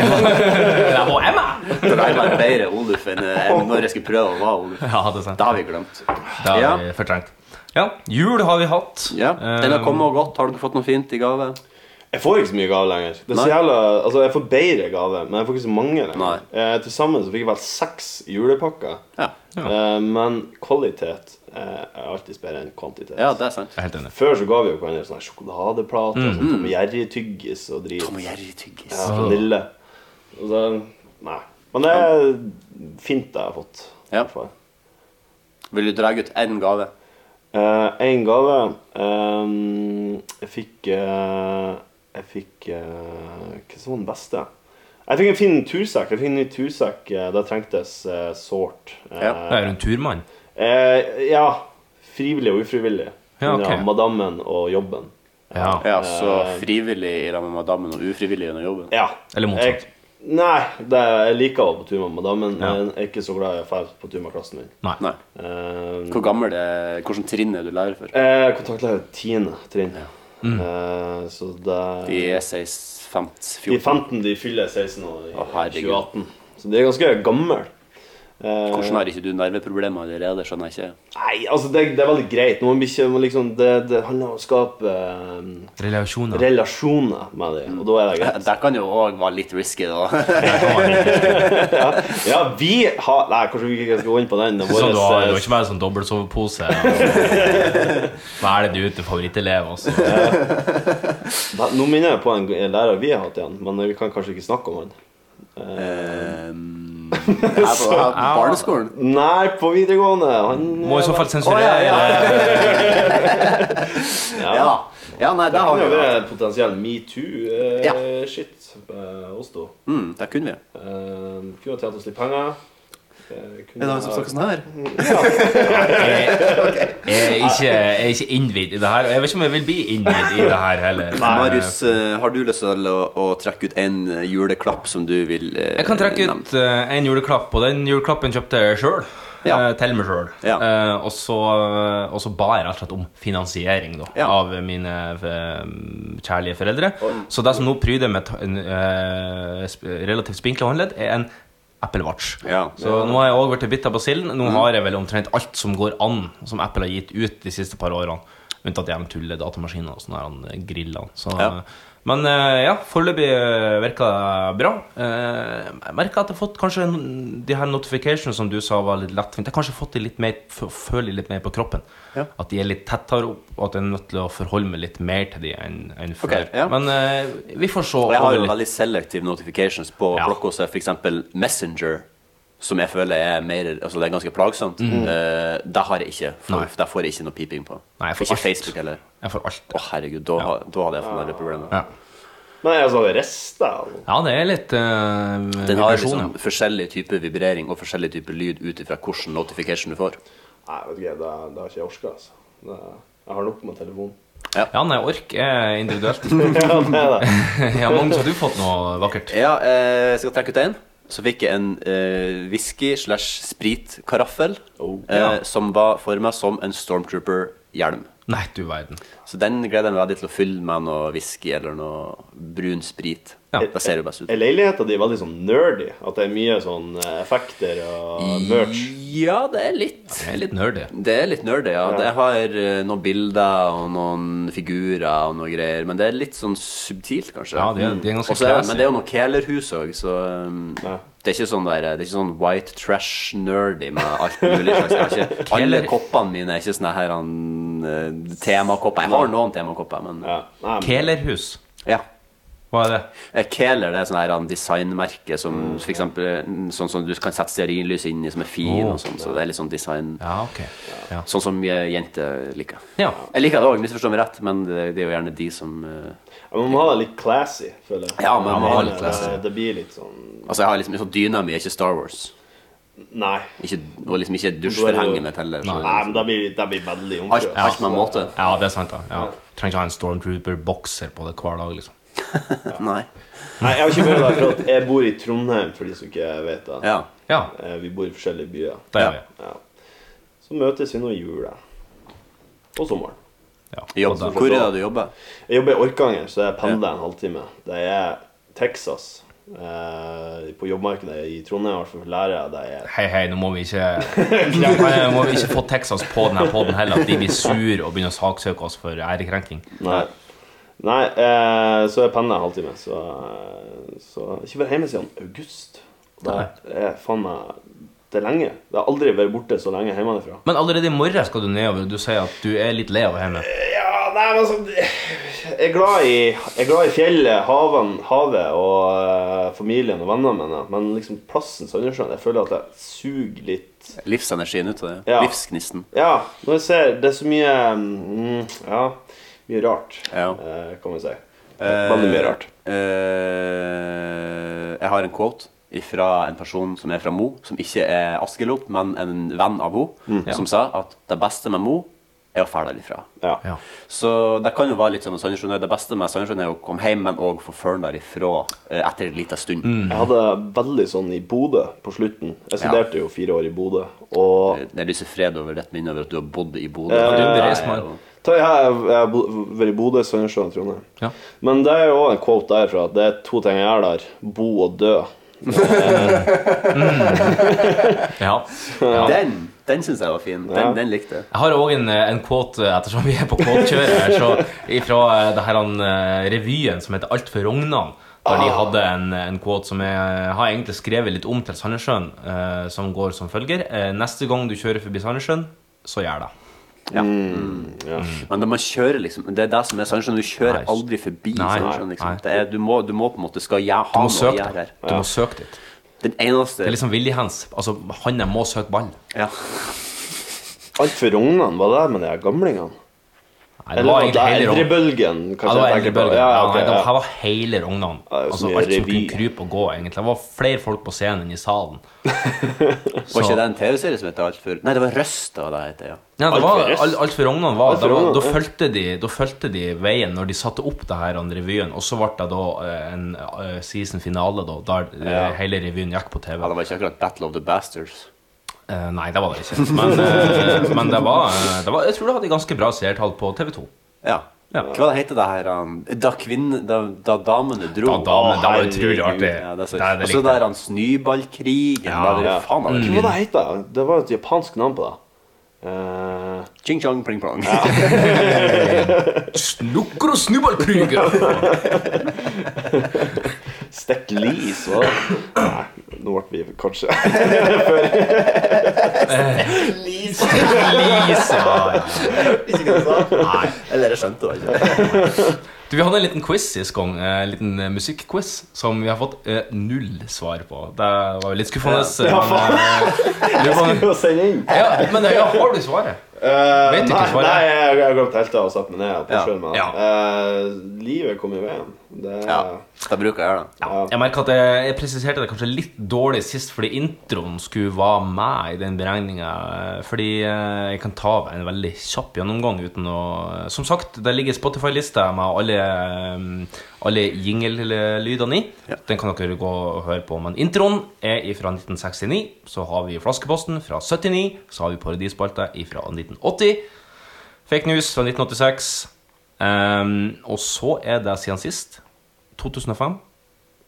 Speaker 2: Det var Emma!
Speaker 3: Det der var bedre Oluf enn eh, enn når jeg skulle prøve å være Oluf.
Speaker 2: Ja, det er sant.
Speaker 3: Det har vi glemt.
Speaker 2: Det har
Speaker 3: Ja.
Speaker 2: vi fortrengt. Ja, jul har vi hatt.
Speaker 3: Ja, Den har
Speaker 2: Eh,
Speaker 3: kommet og gått. Har dere fått noe fint i gave?
Speaker 4: Jeg får ikke så mye gave lenger. Det er så
Speaker 3: Nei.
Speaker 4: jævla, altså Jeg får bedre gave, men jeg får ikke så mange lenger.
Speaker 3: Nei.
Speaker 4: Eh, til sammen så fikk jeg vel seks julepakker.
Speaker 3: Ja.
Speaker 4: Eh, men kvalitet eh, er alltid bedre enn kvantitet.
Speaker 3: Ja, det er sant.
Speaker 2: Jeg er helt enig.
Speaker 4: Før så ga vi jo hverandre sånne sjokoladeplater, mm. sånn Tom og Jerry-tyggis og drit.
Speaker 3: Tom og Jerry tyggis.
Speaker 4: Ja, vanille. Og så, nei. Men det er fint det jeg har fått. i
Speaker 3: Ja.
Speaker 4: hvert fall.
Speaker 3: Vil du dra ut én gave?
Speaker 4: Eh, en gave eh, Jeg fikk eh, Jeg fikk eh, Hva som var den beste? Jeg fikk en fin tursekk. Jeg fikk en ny tursekk. eh, Det trengtes eh, sårt. Eh,
Speaker 3: Ja.
Speaker 2: Det er jo en turmann.
Speaker 4: eh, ja. Frivillig og ufrivillig.
Speaker 2: Ja, ok.
Speaker 4: madammen og jobben.
Speaker 2: Ja.
Speaker 3: Ja, så
Speaker 2: Eh.
Speaker 3: frivillig i rammen med madammen og ufrivillig gjennom jobben.
Speaker 4: Ja.
Speaker 2: Eller motsatt.
Speaker 4: Jeg, nei, det, jeg liker å være på tur med madammen.
Speaker 2: Ja.
Speaker 4: men Jeg er ikke så glad i å dra på tur med klassen min.
Speaker 2: Nei.
Speaker 3: Nei.
Speaker 4: Eh,
Speaker 3: Hvor gammel er Hvilken trinn er du lærer for?
Speaker 4: Eh, kontaktlærer tiende trinn.
Speaker 2: Mm.
Speaker 4: Eh, så det
Speaker 3: De er 16, 15,
Speaker 4: De
Speaker 3: 14
Speaker 4: 15 de fyller 16 år i
Speaker 3: Å, herregud.
Speaker 4: 2018. Så de er ganske gamle. Eh,
Speaker 3: Hvordan har ikke du nerveproblemer allerede, skjønner jeg ikke.
Speaker 4: Nei, altså, det, det er veldig greit. Nå må vi ikke, må liksom, det, det handler om å skape eh,
Speaker 2: Relasjoner.
Speaker 4: relasjoner med dem, og da er det greit.
Speaker 3: Det kan jo òg være litt risky, *laughs* da.
Speaker 4: Ja, vi har Nei, kanskje vi ikke skal gå inn på den. Det er
Speaker 2: Ikke sånn, du har du
Speaker 4: våres,
Speaker 2: har
Speaker 4: eh,
Speaker 2: ikke bare sånn
Speaker 3: *laughs*
Speaker 2: dobbeltsovepose. og- Hva er det du er ute favorittelev altså. også?
Speaker 4: da- Nå minner jeg på en en lærer vi har hatt igjen, men vi kan kanskje ikke snakke om han.
Speaker 3: Um, her på, *laughs* her på barneskolen?
Speaker 4: Nei, på videregående. Han
Speaker 2: Må i så fall sensurere.
Speaker 3: Å, *laughs* ja,
Speaker 4: Ja.
Speaker 3: Ja. ja, nei, det
Speaker 4: Det
Speaker 3: har
Speaker 4: kan jo
Speaker 3: vi jo.
Speaker 4: være potensiell
Speaker 3: Ja.
Speaker 4: metoo-shit eh, oss to.
Speaker 3: Mm, det kunne vi.
Speaker 4: Eh, kunne ha tjent oss litt penger. Eh, kunne ha-
Speaker 3: sånn her?
Speaker 2: Jeg er ikke, jeg er ikke innvidd i det her. og Jeg vet ikke om jeg vil bli innvidd i det her heller.
Speaker 3: Marius, eh, har du lyst til å, å trekke ut en eh, juleklapp som du vil eh,
Speaker 2: Jeg kan trekke
Speaker 3: nevne?
Speaker 2: ut eh, en juleklapp, og den juleklappen kjøpte jeg sjøl.
Speaker 3: Ja.
Speaker 2: Til meg sjøl.
Speaker 3: Ja.
Speaker 2: og, så, eh, og så ba jeg rett og slett om finansiering da,
Speaker 3: Ja.
Speaker 2: av mine eh, kjærlige foreldre. Så det som nå pryder med en, eh, sp- relativt spinkle håndledd, er en Apple Watch.
Speaker 3: Ja. Mm.
Speaker 2: Så nå har jeg òg blitt bitt av basillen. Nå har jeg vel omtrent alt som går an, som Apple har gitt ut de siste par årene. Unntatt de eventuelle datamaskinene og sånne her, eh, grillene. Så,
Speaker 3: Ja.
Speaker 2: Men eh, ja, foreløpig eh, virker det bra. Eh, Jeg merker at jeg har fått kanskje en- de her notifications som du sa var litt lettvint. Jeg har kanskje fått de litt mer, f- føler litt mer på kroppen. At de er litt tettere opp, og at jeg er nødt til å forholde meg litt mer til de enn enn før.
Speaker 3: Ok, ja.
Speaker 2: Men eh, vi får se.
Speaker 3: Og jeg har jo
Speaker 2: over litt-
Speaker 3: veldig selective notifications på
Speaker 2: Ja.
Speaker 3: klokka, så f.eks. Messenger, som jeg føler er mer Altså, det er ganske plagsomt. eh, det har jeg ikke.
Speaker 2: Mm. Nei.
Speaker 3: For, der får jeg ikke noe piping på.
Speaker 2: Nei, jeg får
Speaker 3: ikke
Speaker 2: alt.
Speaker 3: Facebook heller.
Speaker 2: Jeg får alt.
Speaker 3: Å, herregud, da, ha- da hadde jeg fått nerveproblemer.
Speaker 2: Ja.
Speaker 4: Men jeg altså rester
Speaker 2: ja, det er litt uh,
Speaker 3: Den har liksom forskjellig type vibrering og forskjellig type lyd ut ifra hvilken notification du får.
Speaker 4: Nei, vet du hva, det, det har ikke jeg orka, altså. Det, jeg har nok med telefonen.
Speaker 2: Ja, nei, ork er individuelt.
Speaker 4: *laughs* ja, det er
Speaker 3: *laughs*
Speaker 4: det.
Speaker 2: ja, Magnus, har du fått noe vakkert?
Speaker 3: Ja, eh, jeg skal trekke ut en. Så fikk jeg en eh, whisky slash spritkaraffel
Speaker 4: Oh.
Speaker 3: eh, som var for meg som en stormtrooper-hjelm.
Speaker 2: Nei, du verden.
Speaker 3: Så den gleder jeg meg veldig til å fylle med noe whisky eller noe brun sprit.
Speaker 2: Ja.
Speaker 3: Det ser jo best ut.
Speaker 4: Er leiligheta di veldig sånn nerdy? At det er mye sånn eh, effekter og merch?
Speaker 3: Ja, det er litt.
Speaker 2: Jeg er litt nerdy.
Speaker 3: Det er litt nerdy, ja. Jeg har eh, noen bilder og noen figurer og noe greier, men det er litt sånn subtilt, kanskje.
Speaker 2: Ja, de er- de er ganske
Speaker 3: Og så det-
Speaker 2: classy.
Speaker 3: Men det er jo noe kælerhus òg, så um,
Speaker 4: Ja.
Speaker 3: det, er ikke sånn der, det er ikke sånn white trash-nerdy med alt mulig slags. Jeg har ikke,
Speaker 2: *laughs*
Speaker 3: alle
Speaker 2: Kæler-
Speaker 3: koppene mine er ikke sånne her han, eh, temakopper. Jeg har noen temakopper, men
Speaker 4: Ja. Nei, men-
Speaker 2: Kælerhus.
Speaker 3: ja.
Speaker 2: Hva er det?
Speaker 3: Eh, Keler det er sånn her en designmerke som for eksempel, mm, sånn som du kan sette stearinlys inn i, som er fin
Speaker 2: Åh.
Speaker 3: og sånn. Så det er litt sånn design
Speaker 2: Ja, ok. Ja.
Speaker 3: Sånn som eh, jenter liker.
Speaker 2: Ja.
Speaker 3: Jeg liker det òg, misforstå meg rett, men det, det er jo gjerne de som eh,
Speaker 4: Ja, Man må ha det litt classy, føler jeg.
Speaker 3: Ja, man må ha litt
Speaker 4: Det-
Speaker 3: classy.
Speaker 4: Det blir litt sånn
Speaker 3: Altså, jeg har liksom sånn dyna mi er ikke Star Wars.
Speaker 4: Nei.
Speaker 3: Ikke, og liksom ikke
Speaker 4: Da er det jo-
Speaker 3: dusjforhenget mitt heller. Så,
Speaker 4: Nei, men det blir, det blir veldig
Speaker 3: alt,
Speaker 4: omkjørt. altså.
Speaker 3: alt med måte.
Speaker 2: ja, det er sant, da. Ja. Trenger ikke ha en stormtrooper-bokser på det hver dag, liksom.
Speaker 3: *laughs* Nei.
Speaker 4: Nei, jeg har ikke følt det, for at jeg bor i Trondheim, for de som ikke vet det.
Speaker 3: Ja.
Speaker 2: Ja,
Speaker 4: Eh, Vi bor i forskjellige byer.
Speaker 2: det gjør vi.
Speaker 4: Ja. Så møtes vi nå i jula. Og sommeren.
Speaker 2: Ja.
Speaker 3: Jobb.
Speaker 2: Og da-
Speaker 3: Hvor er det du jobber?
Speaker 4: Jeg jobber i Orkanger, så jeg pendler en halvtime. Det er Texas. Eh, på jobbmarkedet i Trondheim, i hvert fall for lærere. Det er
Speaker 2: Hei, hei, nå må vi ikke Nå må vi ikke få Texas på denne poden heller, at de blir sur og begynner å saksøke oss for ærekrenking.
Speaker 4: Nei. Nei, eh, så jeg pendler en halvtime. Så, eh, så jeg har Ikke vært hjemme siden august. Det er faen meg Det er lenge. Det har aldri vært borte så lenge hjemmefra.
Speaker 2: Men allerede i morgen skal du nedover, og du sier at du er litt lei av hjemme.
Speaker 4: Ja, nei, men altså Jeg er glad i, jeg er glad i fjellet, haven, havet og eh, familien og vennene mine. Men liksom plassen Sandnessjøen Jeg føler at jeg suger litt
Speaker 3: Livsenergien ut av det?
Speaker 4: Ja.
Speaker 3: Livsgnisten?
Speaker 4: Ja, når jeg ser Det er så mye mm, Ja, mye rart,
Speaker 3: Ja.
Speaker 4: eh, kan vi si. Veldig mye rart.
Speaker 3: Eh, jeg har en quote fra en person som er fra Mo, som ikke er Askelop, men en venn av henne, som sa at det beste med Mo er å fære derifra.
Speaker 4: Mm. Ja.
Speaker 2: Ja.
Speaker 3: Så det kan jo være litt som med Sandnessjøen. Det beste med Sandnessjøen er å komme hjem, men òg få føre derifra eh, etter en liten stund.
Speaker 4: Jeg hadde veldig sånn i Bodø på slutten. Jeg
Speaker 3: Ja.
Speaker 4: studerte jo fire år i Bodø, og
Speaker 3: Eh, Det lyser fred over ditt minne over at du har bodd i Bodø.
Speaker 4: Ja, du er en
Speaker 2: bereist mann.
Speaker 3: Det er jo-
Speaker 4: Ta, jeg har jeg har bo- vært i Bodø, Sandnessjøen, Trondheim.
Speaker 2: Ja.
Speaker 4: Men det er jo også en quote derfra. at Det er to ting jeg gjør der. Bo og dø.
Speaker 2: Ja.
Speaker 3: Den, den syns jeg var fin. Den,
Speaker 4: Ja.
Speaker 3: den likte jeg.
Speaker 2: Jeg har òg en, en quote, eh, ettersom vi er på quote-kjøret her, så fra det her eh, revyen som heter Alt for Rognan. Der de
Speaker 4: Ah.
Speaker 2: hadde en, en quote som jeg eh, har egentlig skrevet litt om til Sandnessjøen, eh, som går som følger. Eh, neste gang du kjører forbi Sandnessjøen, så gjør det.
Speaker 3: Ja.
Speaker 4: Ja.
Speaker 3: Men da man kjører liksom Det er det som er Sandnessjøen. Du kjører
Speaker 2: Nei.
Speaker 3: aldri forbi
Speaker 2: Nei,
Speaker 3: Sandnessjøen.
Speaker 2: nei.
Speaker 3: Liksom. Det er- Du, må- du må på en måte Skal jeg ha
Speaker 2: Du
Speaker 3: noe
Speaker 2: må søke
Speaker 3: jeg
Speaker 2: deg.
Speaker 3: her?
Speaker 2: Du må søke dit.
Speaker 3: Den eneste
Speaker 2: Det er liksom Willy-hands. Altså, han må søke ball.
Speaker 3: ja.
Speaker 4: Alt for rognan, var det med de her gamlingene?
Speaker 2: Nei, det
Speaker 4: Eller
Speaker 2: var
Speaker 4: var det
Speaker 2: egentlig hele Rognan.
Speaker 4: eldrebølgen?
Speaker 2: Ja,
Speaker 4: kanskje
Speaker 2: det var
Speaker 4: jeg
Speaker 2: egentlig
Speaker 4: tenker på?
Speaker 2: Børgen.
Speaker 4: Ja,
Speaker 2: Ja,
Speaker 4: ok,
Speaker 2: nei,
Speaker 4: ja.
Speaker 2: det her var hele Rognan.
Speaker 4: Ja, det er så
Speaker 2: Altså,
Speaker 4: mye
Speaker 2: alt som
Speaker 4: revy.
Speaker 2: kunne krype og gå, egentlig. Det var flere folk på scenen enn i
Speaker 4: *laughs*
Speaker 2: salen.
Speaker 3: Var ikke det en TV-serie som het Alt for Nei, det var Røst. da, det heter, ja.
Speaker 2: Ja, det
Speaker 4: Alt
Speaker 2: var,
Speaker 4: for rest.
Speaker 2: alt, alt for Rognan var,
Speaker 4: Alt for
Speaker 2: da var
Speaker 4: Rognan,
Speaker 2: da,
Speaker 4: ja.
Speaker 2: fulgte de, da fulgte de veien når de satte opp det her andre revyen, og så ble det da eh, en eh, season finale, da, der eh, hele revyen gikk på TV.
Speaker 3: ja. Det var ikke akkurat Battle of the Bastards.
Speaker 2: Eh, nei, det var det ikke. Men, eh, men det, var, eh, det var Jeg tror det hadde ganske bra seertall på TV2.
Speaker 3: Ja.
Speaker 2: Ja.
Speaker 3: Hva var det heter det her um, Da kvinnen Da, da damene dro.
Speaker 2: Da, da, men det var utrolig
Speaker 4: herregud.
Speaker 2: artig.
Speaker 3: Ja, det er så-
Speaker 2: Det er Mm. det
Speaker 3: Og så
Speaker 2: likte jeg.
Speaker 3: der han snøballkrigen. Ja, det,
Speaker 4: ja.
Speaker 3: faen, det var
Speaker 4: Hva var det het, da? Det var et japansk navn på det. Eh,
Speaker 3: Ching chong pling plong.
Speaker 2: Snukker og snubbelkryger!
Speaker 4: Stekk lis, var det? Nei, nå ble vi *laughs* kanskje Nei,
Speaker 2: Lise, ja, ja.
Speaker 3: Eller jeg skjønte det ikke.
Speaker 2: Du, Vi hadde en liten quiz sist gang, eh, en liten eh, musikkquiz, som vi har fått eh, null svar på. Det var jo litt skuffende.
Speaker 4: Ja,
Speaker 2: men, eh, lurer på om-
Speaker 4: å sende inn.
Speaker 2: ja, men ja, har du svaret?
Speaker 4: Eh,
Speaker 2: Vet du
Speaker 4: nei,
Speaker 2: ikke svaret?
Speaker 4: Nei, jeg jeg har glemt teltet og satt meg ned og
Speaker 3: Ja,
Speaker 4: påskjønt meg.
Speaker 2: ja.
Speaker 4: Eh, livet kom i veien. Det
Speaker 3: *laughs* Ja, det bruker jeg gjøre, da.
Speaker 2: Ja. Jeg merker at jeg, jeg presiserte det kanskje litt dårlig sist, fordi introen skulle være med i den beregninga. Fordi eh, jeg kan ta en veldig kjapp gjennomgang uten å eh, Som sagt, der ligger Spotify-lista med alle, eh, alle jingle-lydene i. Den kan dere gå og høre på. Men introen er fra 1969. Så har vi Flaskeposten fra 79. Så har vi Paradispalta fra 1980. Fake news fra 1986. Ehm, og så er det siden sist 2005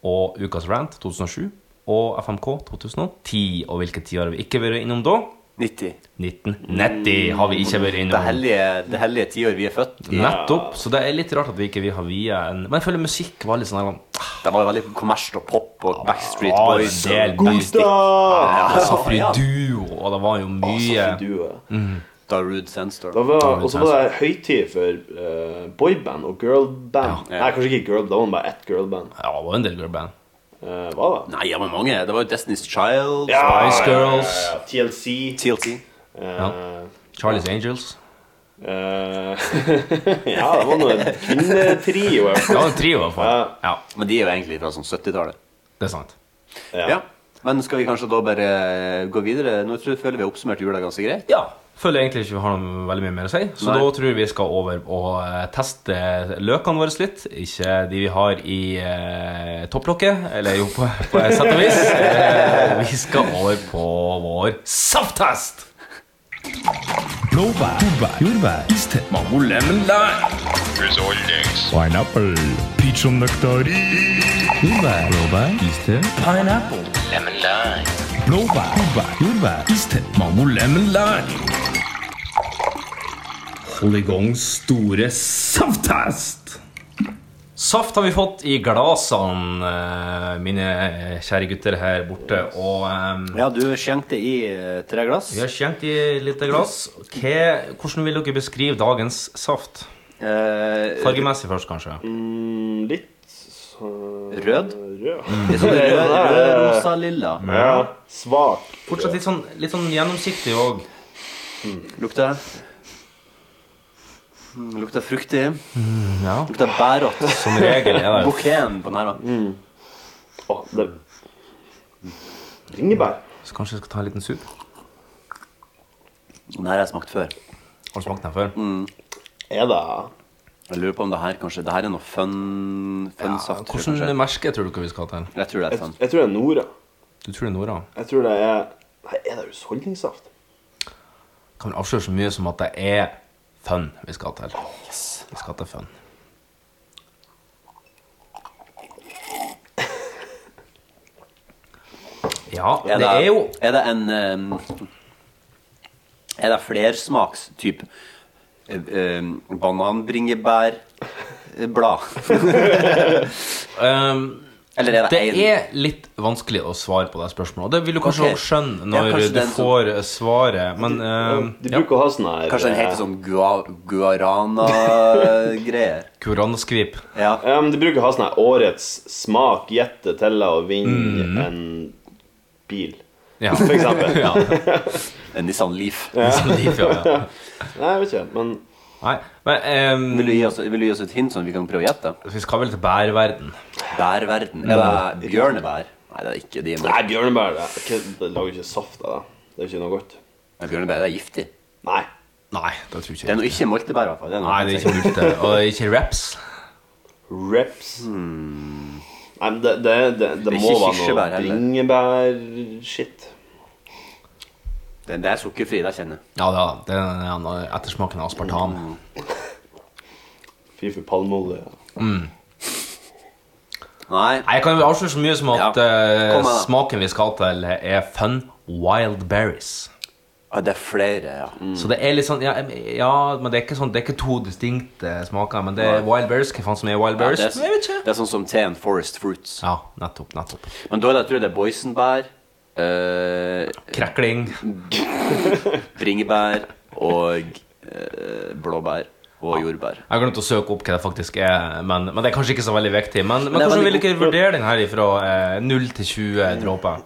Speaker 2: og Ukas Rant 2007 og FMK 2010. Og hvilke tid har vi ikke vært innom da?
Speaker 3: 90.
Speaker 2: 1990 har vi ikke vært
Speaker 3: Det
Speaker 2: innom.
Speaker 3: hellige, det hellige tiår vi er født i.
Speaker 2: Nettopp. Så det er litt rart at vi ikke vi har via en Men jeg føler musikk var litt sånn her,
Speaker 3: Det var jo veldig kommersielt og pop og Backstreet
Speaker 2: ah,
Speaker 3: Boys.
Speaker 2: det er
Speaker 3: og
Speaker 2: god
Speaker 3: Mystic,
Speaker 4: Da!
Speaker 2: Ah, ja, Ah, Safri
Speaker 3: ja.
Speaker 2: Duo, og det var jo mye
Speaker 4: Safi Altså, Due.
Speaker 3: Darude
Speaker 4: Da
Speaker 3: Sandstorm.
Speaker 4: var- Og så var det høytid for eh, boyband og
Speaker 3: Ja.
Speaker 4: girlband. Nei, kanskje ikke girl, da var det bare ett girlband.
Speaker 2: Ja, det var en del girlband.
Speaker 4: Eh, var det?
Speaker 3: Nei, det var mange. Det var jo Destiny's Child.
Speaker 2: Spice Girls,
Speaker 4: ja, TLC.
Speaker 3: TLT.
Speaker 4: eh,
Speaker 2: Charlie's Angels.
Speaker 4: eh, *laughs* ja, det var noe kvinnetrio. i hvert
Speaker 2: Det
Speaker 4: fall.
Speaker 2: var en trio, i hvert fall. Ja,
Speaker 3: Men de er jo egentlig fra sånn 70-tallet.
Speaker 2: det er sant.
Speaker 4: Ja.
Speaker 3: Ja. Men skal vi kanskje da bare eh, gå videre? Nå tror jeg føler vi har oppsummert jula ganske greit.
Speaker 2: Ja. Føler jeg egentlig ikke vi har noe veldig mye mer å si. Så
Speaker 3: Nei.
Speaker 2: da tror jeg vi skal over og eh, teste løkene våre litt. Ikke de vi har i eh, topplokket, eller jo, på, på et sett og vis. Eh, vi skal over på vår safttest!
Speaker 7: Blåbær, turbær, jordbær, iste, mango, lemon, lime. Pineapple, peach og nektarin. Jordbær, blåbær, iste, pineapple, lemon, lime. Blåbær, turbær, jordbær, iste, mango, lemon, lime. Hold i gang store safttest!
Speaker 2: Saft har vi fått i glasene, eh, mine kjære gutter her borte. Og eh,
Speaker 3: Ja, du skjenkte i eh, tre glass.
Speaker 2: vi har skjenkt i lite glass. Hva, hvordan vil dere beskrive dagens saft?
Speaker 3: Eh,
Speaker 2: Fargemessig først, kanskje.
Speaker 4: Mm, litt så-
Speaker 3: Rød?
Speaker 4: Rød.
Speaker 3: litt sånn rød, rød, rosa, lilla.
Speaker 4: Ja, svak.
Speaker 2: Fortsatt litt sånn, litt sånn gjennomsiktig òg.
Speaker 3: Lukter Mm, Lukter fruktig.
Speaker 2: Mm, Ja.
Speaker 3: Lukter bærete.
Speaker 2: Som regel er det
Speaker 3: Bouqueten på nærmere.
Speaker 4: Å, det Bringebær.
Speaker 2: Så kanskje jeg skal ta en liten sup?
Speaker 3: Den her har jeg smakt før.
Speaker 2: Har du smakt den før?
Speaker 3: Mm,
Speaker 4: Er det
Speaker 3: Jeg lurer på om det her kanskje Det her er noe fun, fun saft. tror jeg
Speaker 2: Hvordan
Speaker 3: kanskje.
Speaker 2: merke tror du ikke vi skal til?
Speaker 3: Jeg tror det
Speaker 4: Jeg,
Speaker 3: er fun.
Speaker 4: jeg tror det er Nora.
Speaker 2: Du tror det er Nora?
Speaker 4: Jeg tror det er Nei, er det husholdningssaft?
Speaker 2: Kan vel avsløre så mye som at det er fun vi skal til. Vi skal til fun. Ja,
Speaker 3: Er
Speaker 2: det er jo
Speaker 3: Er det en ehm, Er det flersmaks type eh, bananbringebærblad?
Speaker 2: ehm,
Speaker 3: *laughs* Eller er det
Speaker 2: Det
Speaker 3: en-
Speaker 2: er litt vanskelig å svare på det spørsmålet. Og det vil du kanskje
Speaker 3: Ok.
Speaker 2: også skjønne
Speaker 3: Ja,
Speaker 2: når
Speaker 3: kanskje
Speaker 2: du
Speaker 3: den som- oh.
Speaker 2: får eh, svaret, men ehm,
Speaker 4: De
Speaker 2: ja,
Speaker 4: bruker å ha sånn her
Speaker 3: Kanskje den
Speaker 4: eh,
Speaker 3: heter sånn gua, guarana-greier?
Speaker 2: Koranskvip.
Speaker 3: Ja.
Speaker 4: Ja, men de bruker å ha sånn her årets smak gjette til å vinne en bil,
Speaker 2: Ja.
Speaker 4: for eksempel.
Speaker 2: *laughs* ja.
Speaker 3: En Nissan Leaf.
Speaker 2: Som de får, ja.
Speaker 4: Nei, jeg vet ikke, men
Speaker 2: Nei, men ehm,
Speaker 3: Vil du, gi oss, vil du gi oss et hint, sånn at vi kan prøve å gjette?
Speaker 2: vi skal vel til bærverden.
Speaker 3: Bærverden. Er det bjørnebær? Nei, det er ikke de.
Speaker 4: Nei, bjørnebær det, er ikke- det lager ikke saft av det. Det er ikke noe godt.
Speaker 3: Men bjørnebær det er giftig.
Speaker 4: Nei.
Speaker 2: Nei, det tror jeg
Speaker 3: Det er
Speaker 2: ikke.
Speaker 3: noe ikke moltebær, i hvert fall. Det er noe
Speaker 2: Nei, det er ikke multe. Og det er ikke raps.
Speaker 4: Reps. Nei, men det, det, det, det,
Speaker 3: Hmm. er
Speaker 4: må
Speaker 3: ikke
Speaker 4: være
Speaker 3: kirsebær
Speaker 4: noe
Speaker 3: heller.
Speaker 4: bringebær-shit.
Speaker 3: Den der er sukkerfri, det kjenner jeg.
Speaker 2: Ja, ja, det er en av ettersmaken av aspartam.
Speaker 4: Fy for palmeolje.
Speaker 3: Nei.
Speaker 2: Nei, Jeg kan jo avsløre så mye som at
Speaker 3: Ja.
Speaker 2: eh,
Speaker 3: Kom med det.
Speaker 2: smaken vi skal til, er fun wild berries.
Speaker 3: Ah, Det er flere, ja.
Speaker 2: Så det er litt sånn ja, ja, men det er ikke sånn Det er ikke to distinkte smaker, men det er wild berries. Hva faen som er wild
Speaker 3: Ja,
Speaker 2: berries?
Speaker 3: det,
Speaker 2: jeg
Speaker 3: er,
Speaker 2: vet ikke.
Speaker 3: det er sånn som teen Forest Fruits.
Speaker 2: Ja, nettopp. nettopp
Speaker 3: Men da er det, jeg tror jeg det er boysenbær, eh,
Speaker 2: Krekling.
Speaker 3: bringebær og eh, blåbær og jordbær.
Speaker 2: Jeg har glemt å søke opp hva det faktisk er, men, men det er kanskje ikke så veldig viktig. Men, men
Speaker 3: det er
Speaker 2: hvordan vil
Speaker 3: veldig
Speaker 2: dere vurdere den her ifra eh, 0 til 20 dråper?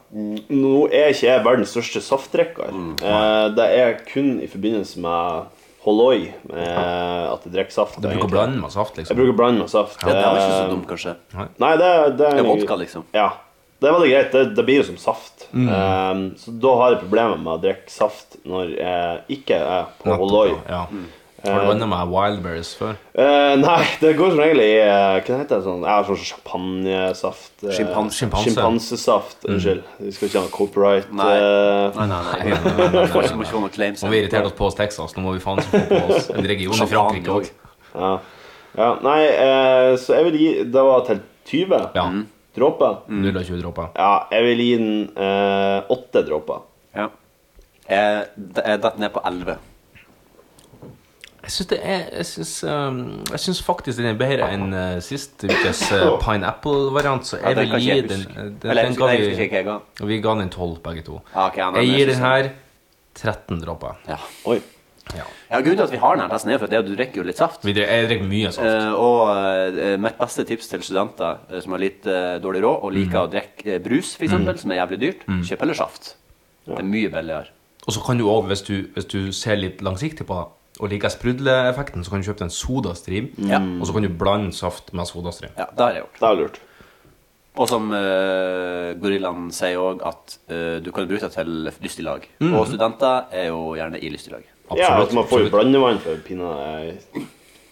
Speaker 4: Nå er ikke jeg verdens største saftdrikker.
Speaker 3: Hmm.
Speaker 4: Eh, det er kun i forbindelse med Holloi eh, at jeg drikker saft.
Speaker 2: Du bruker å
Speaker 4: egentlig.
Speaker 2: blande med saft,
Speaker 4: Jeg
Speaker 2: liksom.
Speaker 4: bruker å blande med saft.
Speaker 3: Ja, det er vel ikke
Speaker 4: Eh,
Speaker 3: så dumt, kanskje.
Speaker 4: Nei, det, det,
Speaker 3: Det er vodka, liksom.
Speaker 4: Ja. Det er veldig greit. Det, det blir jo som saft.
Speaker 2: Mm.
Speaker 4: Eh, så da har jeg problemer med å drikke saft når jeg ikke er på Holloi.
Speaker 2: Ja.
Speaker 3: Mm.
Speaker 2: Har
Speaker 3: Eh,
Speaker 2: du blanda med wild berries før?
Speaker 4: Eh, nei, det går som regel i eh, Hva heter det sånn? Jeg har sånn champagnesaft eh,
Speaker 3: Schimpans-
Speaker 2: Sjimpanse. Mm.
Speaker 4: Sjimpansesaft. Unnskyld. Vi skal ikke ha noe copyright.
Speaker 3: Nei.
Speaker 4: eh,
Speaker 3: Nei, nei, *laughs* nei. nei, nei, nei, nei. Må ikke få noe claims.
Speaker 2: Må vi irritere oss på oss Texas? Nå må vi faen ikke få på oss en region i
Speaker 3: Champagne
Speaker 2: Frankrike òg.
Speaker 4: ja. ja. Nei, eh, så jeg vil gi Det var til 20
Speaker 2: Ja. Mm.
Speaker 4: dråper.
Speaker 3: Mm.
Speaker 2: 0 av 20 dråper.
Speaker 4: Ja, jeg vil gi den eh, 8 dråper.
Speaker 3: Ja. Jeg, jeg datt ned på 11.
Speaker 2: Jeg syns det er Jeg syns, um, jeg syns faktisk den er bedre enn uh, sist ukes uh, pineapple-variant, så
Speaker 3: Ja,
Speaker 2: jeg
Speaker 3: det
Speaker 2: vil
Speaker 3: kan ikke
Speaker 2: gi
Speaker 3: jeg
Speaker 2: den,
Speaker 3: huske.
Speaker 2: uh, den,
Speaker 3: Eller jeg
Speaker 2: den
Speaker 3: husker-
Speaker 2: ga
Speaker 3: jeg husker
Speaker 2: vi,
Speaker 3: ikke hva jeg ga.
Speaker 2: vi ga den 12, begge to.
Speaker 3: Ja, liksom- ok, ja, men
Speaker 2: Jeg
Speaker 3: jeg
Speaker 2: gir
Speaker 3: synes
Speaker 2: den her 13 dråper.
Speaker 3: Ja.
Speaker 4: Oi.
Speaker 2: Ja.
Speaker 3: Ja, grunnen til at vi har denne testen, er for at det er at du drikker jo litt saft.
Speaker 2: Vi dri- Jeg drikker mye saft.
Speaker 3: Eh, og eh, mitt beste tips til studenter eh, som har litt eh, dårlig råd og
Speaker 4: Mm.
Speaker 3: liker å drikke eh, brus, f.eks., eksempel, som er jævlig dyrt, kjøp heller saft. Det er mye billigere.
Speaker 2: Og så kan du òg, hvis, du- hvis du ser litt langsiktig på det, og liker sprudleeffekten, så kan du kjøpe deg en sodastream,
Speaker 3: Ja.
Speaker 2: og så kan du blande saft med sodastream.
Speaker 3: Ja, det har jeg gjort.
Speaker 4: Det er lurt.
Speaker 3: Og som eh, gorillaen sier òg, at eh, du kan bruke det til lystiglag.
Speaker 4: Mm.
Speaker 3: Og studenter er jo gjerne i lystiglag.
Speaker 4: Ja, at man får jo
Speaker 2: absolutt.
Speaker 4: blandevann for pinadø i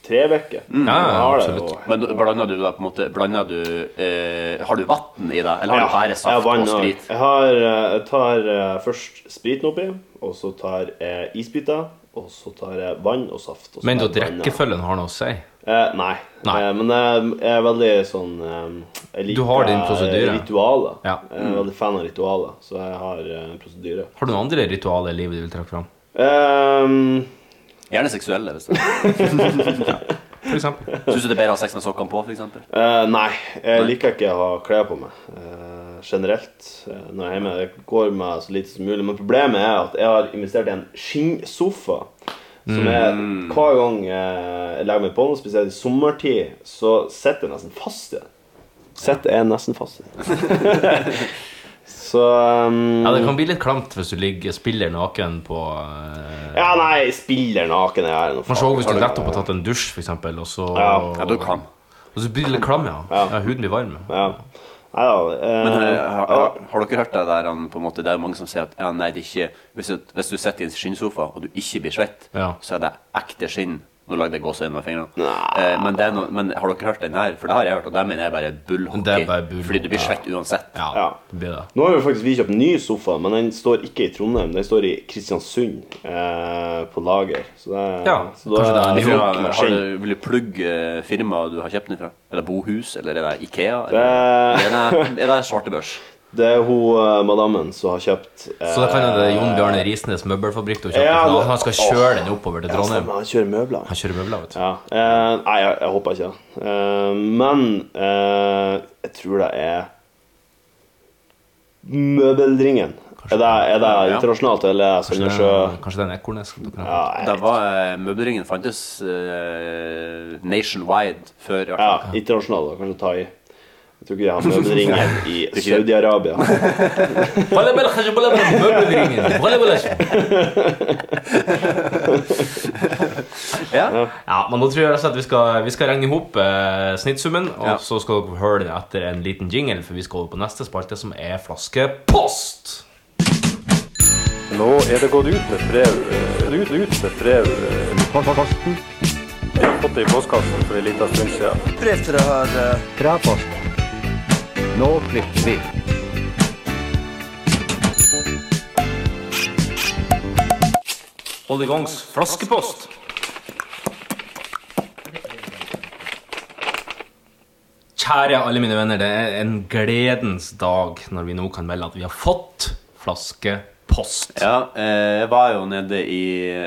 Speaker 4: tre uker.
Speaker 2: Mm. Ja, ja,
Speaker 4: Jeg har det,
Speaker 2: absolutt.
Speaker 4: og-
Speaker 3: Men blander du da på en måte Blander du eh, Har du vann i det, eller har
Speaker 4: Ja,
Speaker 3: du bare
Speaker 4: jeg har
Speaker 3: saft
Speaker 4: vann
Speaker 3: og
Speaker 4: og-
Speaker 3: sprit?
Speaker 4: Jeg, har, eh, jeg tar eh, først spriten oppi, og så tar jeg isbiter, og så tar jeg vann og saft. Og så
Speaker 2: Men
Speaker 4: tar
Speaker 2: da
Speaker 4: jeg vann, ja.
Speaker 2: drikkefølgen har noe å si.
Speaker 4: Eh, nei.
Speaker 2: Nei.
Speaker 4: Eh, men jeg jeg er veldig sånn eh, jeg liker eh,
Speaker 2: Du har din prosedyre.
Speaker 4: Ritualer.
Speaker 2: Ja.
Speaker 4: Jeg er veldig fan av ritualer, så jeg har eh, en prosedyre.
Speaker 2: Har du noen andre ritualer i livet du vil trekke fram?
Speaker 4: Eh,
Speaker 3: Gjerne seksuelle, hvis
Speaker 4: *laughs*
Speaker 3: det
Speaker 2: For eksempel.
Speaker 3: Syns du det er bedre å ha sex med sokkene på, f.eks.?
Speaker 4: Eh, nei, jeg liker ikke å ha klær på meg eh, generelt eh, når jeg er hjemme. Jeg går med så lite som mulig. Men problemet er at jeg har investert i en skinnsofa. Som er Hver gang eh, jeg legger meg på den, spesielt i sommertid, så sitter jeg nesten fast i den. Sitter jeg nesten fast i den. *laughs* så um,
Speaker 2: Ja, det kan bli litt klamt hvis du ligger spiller naken på eh,
Speaker 4: Ja, nei, spiller naken jeg er nå.
Speaker 2: Kanskje også hvis du
Speaker 4: faen.
Speaker 2: nettopp har tatt en dusj, for eksempel, og så
Speaker 4: Ja.
Speaker 3: Ja, du kan.
Speaker 2: Og så blir det litt klam, ja. ja. Huden blir varm.
Speaker 4: Ja. Nei da. eh,
Speaker 3: Men eh, har, har, har dere hørt det der han, på en måte, det er mange som sier at ja, nei, det er ikke, hvis, du- hvis du sitter i en skinnsofa og du ikke blir svett,
Speaker 2: Ja.
Speaker 3: så er det ekte skinn. Nå lagde jeg gåsehud med fingrene. Eh, men, det er noe, men har dere hørt den her? For det har jeg hørt, og den min er bare
Speaker 2: Det
Speaker 3: bullhockey.
Speaker 2: er bare bull-
Speaker 3: fordi du blir
Speaker 2: ja.
Speaker 3: svett uansett.
Speaker 2: Ja,
Speaker 4: Ja.
Speaker 2: det blir det.
Speaker 4: Nå har jo faktisk vi kjøpt ny sofa, men den står ikke i Trondheim. Den står i Kristiansund, eh, på lager. Så det er,
Speaker 2: Ja,
Speaker 4: så da
Speaker 2: kanskje det er en
Speaker 4: er det
Speaker 3: Fra,
Speaker 4: nok
Speaker 3: har
Speaker 4: maskin.
Speaker 3: du, vil du plugge eh, firmaet du har kjøpt den fra? Er det Bohus, eller er det Ikea? Eller,
Speaker 4: Det,
Speaker 3: er det, er det svartebørs?
Speaker 4: det er hun eh, madammen som har kjøpt eh,
Speaker 2: Så da kan det være Jon Bjarne Risnes møbelfabrikk du kjøpte.
Speaker 4: Ja,
Speaker 2: for
Speaker 4: det-
Speaker 2: han skal kjøre den oppover til
Speaker 4: Ja, stemmer,
Speaker 2: Trondheim.
Speaker 4: Han kjører møbler.
Speaker 2: Han kjører møbler, vet du.
Speaker 4: Ja. Eh, nei, jeg, jeg håper ikke det. Eh, men eh, jeg tror det er Møbelringen. Er det, er det
Speaker 3: Ja.
Speaker 4: internasjonalt, eller er det Sandnessjø?
Speaker 2: Eh, Kanskje det er en ekornes? dere
Speaker 4: Ja,
Speaker 2: har.
Speaker 4: jeg-
Speaker 3: Det var, eh, møbelringen fantes eh, nationwide før. i hvert fall.
Speaker 4: Ja, internasjonal, da. Kanskje ta i. Jeg tror ikke de
Speaker 2: *laughs*
Speaker 4: har møbelringen i Saudi-Arabia.
Speaker 2: Ja,
Speaker 3: Ja.
Speaker 2: men nå tror jeg altså at vi skal, vi skal regne ihop eh, snittsummen, og
Speaker 3: Ja.
Speaker 2: så skal dere få høre den etter en liten jingle, for vi skal over på neste spalte, som er flaskepost. Hold i gangs flaskepost. Kjære alle mine venner, det er en gledens dag når vi nå kan melde at vi har fått flaskepost.
Speaker 3: Ja, eh, jeg var jo nede i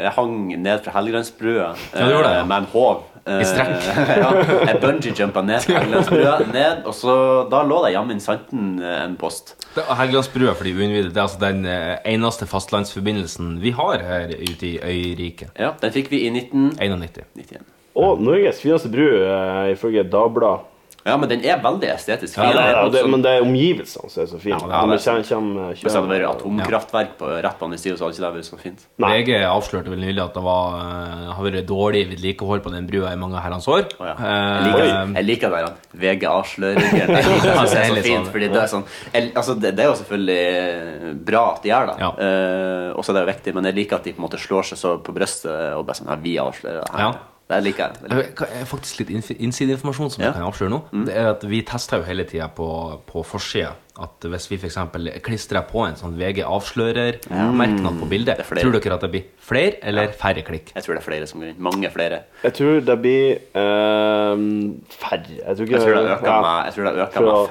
Speaker 3: Jeg hang ned fra Helgelandsbrua
Speaker 2: du gjorde det, ja.
Speaker 3: eh, med en håv. Eh,
Speaker 2: I strekk.
Speaker 3: *laughs* ja, jeg bungee-jumpa ned
Speaker 4: *laughs*
Speaker 3: fra Helgelandsbrua, ned, og så da lå det jammen santen eh, en post.
Speaker 2: Det er Helgelandsbrua for de uinnvidde. Det er altså den eh, eneste fastlandsforbindelsen vi har her ute i øyriket.
Speaker 3: Ja, Den fikk vi i 1991.
Speaker 2: 91.
Speaker 4: Og Norges fineste bru, eh, ifølge Dagbladet.
Speaker 3: Ja, men den er veldig estetisk fin.
Speaker 4: Ja, det er, og det,
Speaker 3: også-
Speaker 4: men det er omgivelsene som er så fine.
Speaker 3: Ja, det er-
Speaker 4: Kommer- kommer-
Speaker 3: Hvis det hadde vært
Speaker 4: kommer-
Speaker 3: atomkraftverk på rett på andre siden, så hadde ikke det vært så fint.
Speaker 4: Nei.
Speaker 2: VG avslørte vel nylig at det var, eh, har vært dårlig vedlikehold på den brua i mange herrens år.
Speaker 3: Å, ja.
Speaker 2: Eh,
Speaker 3: Jeg liker,
Speaker 2: eh,
Speaker 3: jeg liker det der han. VG
Speaker 2: *laughs*
Speaker 3: avslører Jeg liker det, jeg synes det er så fint Fordi det er sånn jeg, altså, det, det er jo selvfølgelig eh, bra at de gjør det
Speaker 2: Ja.
Speaker 3: eh, Også det er jo viktig Men jeg liker at de på en måte slår seg så på brøstet Og bare sånn, ja, vi avslører det her
Speaker 2: Ja.
Speaker 3: Det liker jeg det liker.
Speaker 2: Jeg kan- jeg har faktisk litt inf- innsideinformasjon som
Speaker 3: Ja. Mm.
Speaker 2: jeg kan avsløre nå. Det er at Vi tester jo hele tida på, på forsida at hvis vi for eksempel klistrer på en sånn VG avslører-merknad på bildet,
Speaker 3: Det er flere.
Speaker 2: tror dere at det blir flere eller færre klikk?
Speaker 3: Jeg tror det er flere som går inn Mange flere
Speaker 4: Jeg tror det blir eh, færre. Jeg tror ikke
Speaker 3: Jeg tror det øker
Speaker 4: ja,
Speaker 3: med, jeg tror det øker
Speaker 4: For å-
Speaker 3: med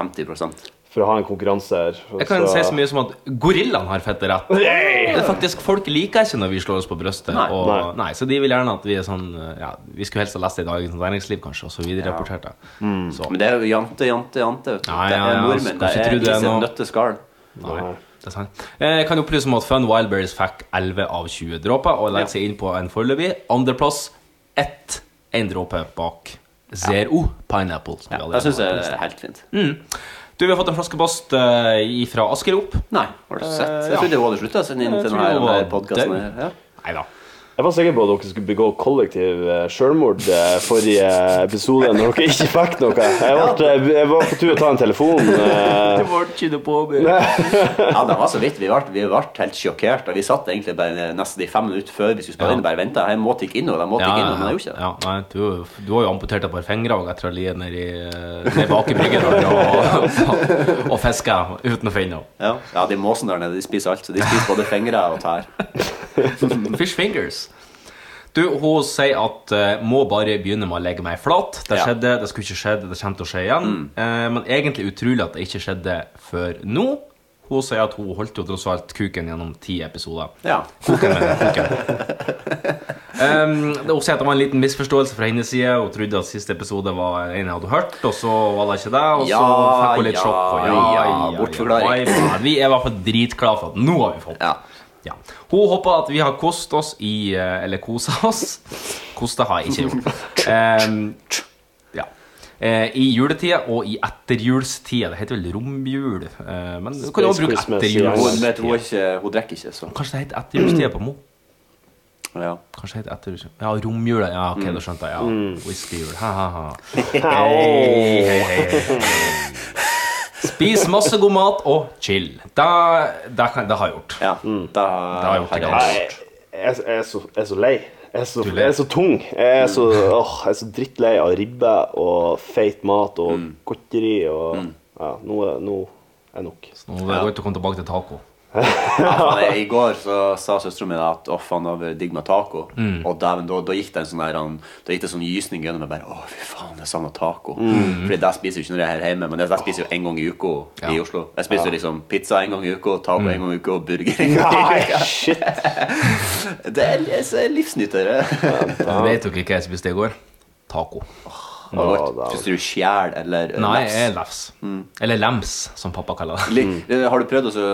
Speaker 3: 50%
Speaker 4: For å ha en konkurranse her. for
Speaker 2: Jeg kan
Speaker 4: så-
Speaker 2: si så mye som at gorillaen har fette
Speaker 3: *laughs*
Speaker 2: rett. Det er faktisk, Folk liker ikke når vi slår oss på brystet.
Speaker 3: Nei.
Speaker 2: og,
Speaker 4: Nei.
Speaker 2: nei, så de vil gjerne at vi er sånn ja, Vi skulle helst ha lest det i Dagens Næringsliv, kanskje, og så videre rapportert det. Så
Speaker 3: Mm. Men det er jo jante, jante, jante vet du.
Speaker 2: Ja, ja,
Speaker 3: Det er
Speaker 2: ja,
Speaker 3: nordmenn
Speaker 2: skal
Speaker 3: Det
Speaker 2: ikke
Speaker 3: er
Speaker 2: tro det er
Speaker 3: isen
Speaker 2: noe-
Speaker 3: nøtte skall
Speaker 2: Nei, det er sant. Eh, Jeg kan opplyse om at Fun Wildberries fikk 11 av 20 dråper og legger seg inn på en foreløpig andreplass. Ett én dråpe bak Zero Pineapple. Som vi
Speaker 3: Jeg
Speaker 2: allerede
Speaker 3: synes det
Speaker 2: har
Speaker 3: er
Speaker 2: testet.
Speaker 3: helt fint
Speaker 2: Du, Vi har fått en flaskepost eh, fra Askerop.
Speaker 3: Nei, har du sett?
Speaker 2: ja.
Speaker 3: Jeg trodde det var det sluttet Siden inn
Speaker 2: Jeg
Speaker 3: til
Speaker 2: tror
Speaker 3: denne
Speaker 2: det
Speaker 3: denne
Speaker 2: var
Speaker 3: podcasten
Speaker 2: død.
Speaker 3: her. Ja.
Speaker 2: Nei da.
Speaker 4: Jeg var sikker på at dere skulle begå kollektiv eh, selvmord eh, forrige episode når dere ikke fikk noe. Jeg var, jeg var på tur å ta en telefon. eh,
Speaker 3: Ja, det var så vidt. Vi ble, vi ble helt sjokkert. Og vi satt egentlig bare nesten de fem minutter før vi skulle spille
Speaker 2: Ja.
Speaker 3: inn, bare venta. Jeg må tikke innom, jeg må tikke innom, men jeg gjorde ikke det.
Speaker 2: ja, nei, du, du har jo amputert et par fingre og etter å ha ligget nedi eh, ned bak i bryggen
Speaker 3: *laughs*
Speaker 2: og, og, og fiska uten å finne noe.
Speaker 3: Ja. ja, de måsene der nede, de spiser alt. Så de spiser både fingre og tær.
Speaker 2: Fish fingers. Du, Hun sier at eh, 'må bare begynne med å legge meg flat'. Det
Speaker 3: Ja. Mm.
Speaker 2: skjedde, det skulle ikke skjedd, det kommer til å skje igjen. Eh, men egentlig utrolig at det ikke skjedde før nå. Hun sier at hun holdt jo tross alt kuken gjennom ti episoder.
Speaker 3: Ja.
Speaker 2: Kuken, mener jeg, kuken. Um, det- hun sier at det var en liten misforståelse fra hennes side. Hun trodde at siste episode var en jeg hadde hørt, og så var det ikke det. Og så
Speaker 3: Ja,
Speaker 2: fikk hun litt
Speaker 3: ja,
Speaker 2: sjokk. Og ja, ja,
Speaker 3: ja,
Speaker 2: ja,
Speaker 3: bortforklaring.
Speaker 2: ja. Vi er i hvert fall dritglade for at nå har vi fått
Speaker 3: Ja.
Speaker 2: ja. Hun håper at vi har kost oss i eh, Eller kosa oss. Kosta har jeg ikke gjort. Em, ja. Eh, I juletida og i etterjulstida. Det heter vel romjul. eh, men du kan jo også bruke
Speaker 4: Christmas, ja.
Speaker 3: Hun, vet, hun,
Speaker 2: etterjulstida.
Speaker 3: er ikke, hun drikker ikke, så
Speaker 2: Kanskje det heter etterjulstida på Mo?
Speaker 3: ja.
Speaker 2: Kanskje det heter etterjulstida. Ja, romjula. Ja, ok, da skjønte jeg. Ja. Whiskyjul. Ha-ha-ha.
Speaker 4: Au.
Speaker 2: Hei, hei, hei. Spis masse god mat og chill. Da, da, kan, da har jeg gjort.
Speaker 3: Ja, da,
Speaker 2: Mm. Da har jeg gjort det
Speaker 3: jeg-
Speaker 2: ganske.
Speaker 4: Jeg, jeg, jeg, er så, jeg er så lei. Jeg er så,
Speaker 2: er lei.
Speaker 4: jeg er så tung. Jeg er så,
Speaker 3: Mm.
Speaker 4: åh, jeg er så drittlei av ribbe og feit mat og
Speaker 3: Mm.
Speaker 4: godteri og ja, nå, er- nå er nok.
Speaker 2: Nå er det godt å komme tilbake til taco.
Speaker 3: Ja, faen, jeg- I går så sa søsteren min at å faen, det var digg med taco.
Speaker 2: Mm.
Speaker 3: Og dæven, da, da gikk det en sånn der, han- Da gikk det en sånn gysning gjennom meg. bare, Å, fy faen, jeg savner taco. Fordi det spiser jeg jo ikke når jeg er her hjemme, men det det spiser jeg jo en gang i uka i
Speaker 2: Mm. Ja. Mm.
Speaker 3: Oslo. Jeg spiser jo liksom pizza en gang i uka, taco en gang i uka og burger en gang i
Speaker 4: Nei,
Speaker 3: uka.
Speaker 4: shit!
Speaker 3: *laughs* Det er, jeg er livsnytere.
Speaker 2: Vet dere hva jeg spiste i går? Taco.
Speaker 3: Det var godt. Spiste du skjæl eller eh,
Speaker 2: Nei,
Speaker 3: lefs?
Speaker 2: jeg
Speaker 3: Mm.
Speaker 2: er Mm. lefs. Eller lems, som pappa kaller
Speaker 3: *laughs*
Speaker 2: det.
Speaker 3: Lik- eh, Har du prøvd å så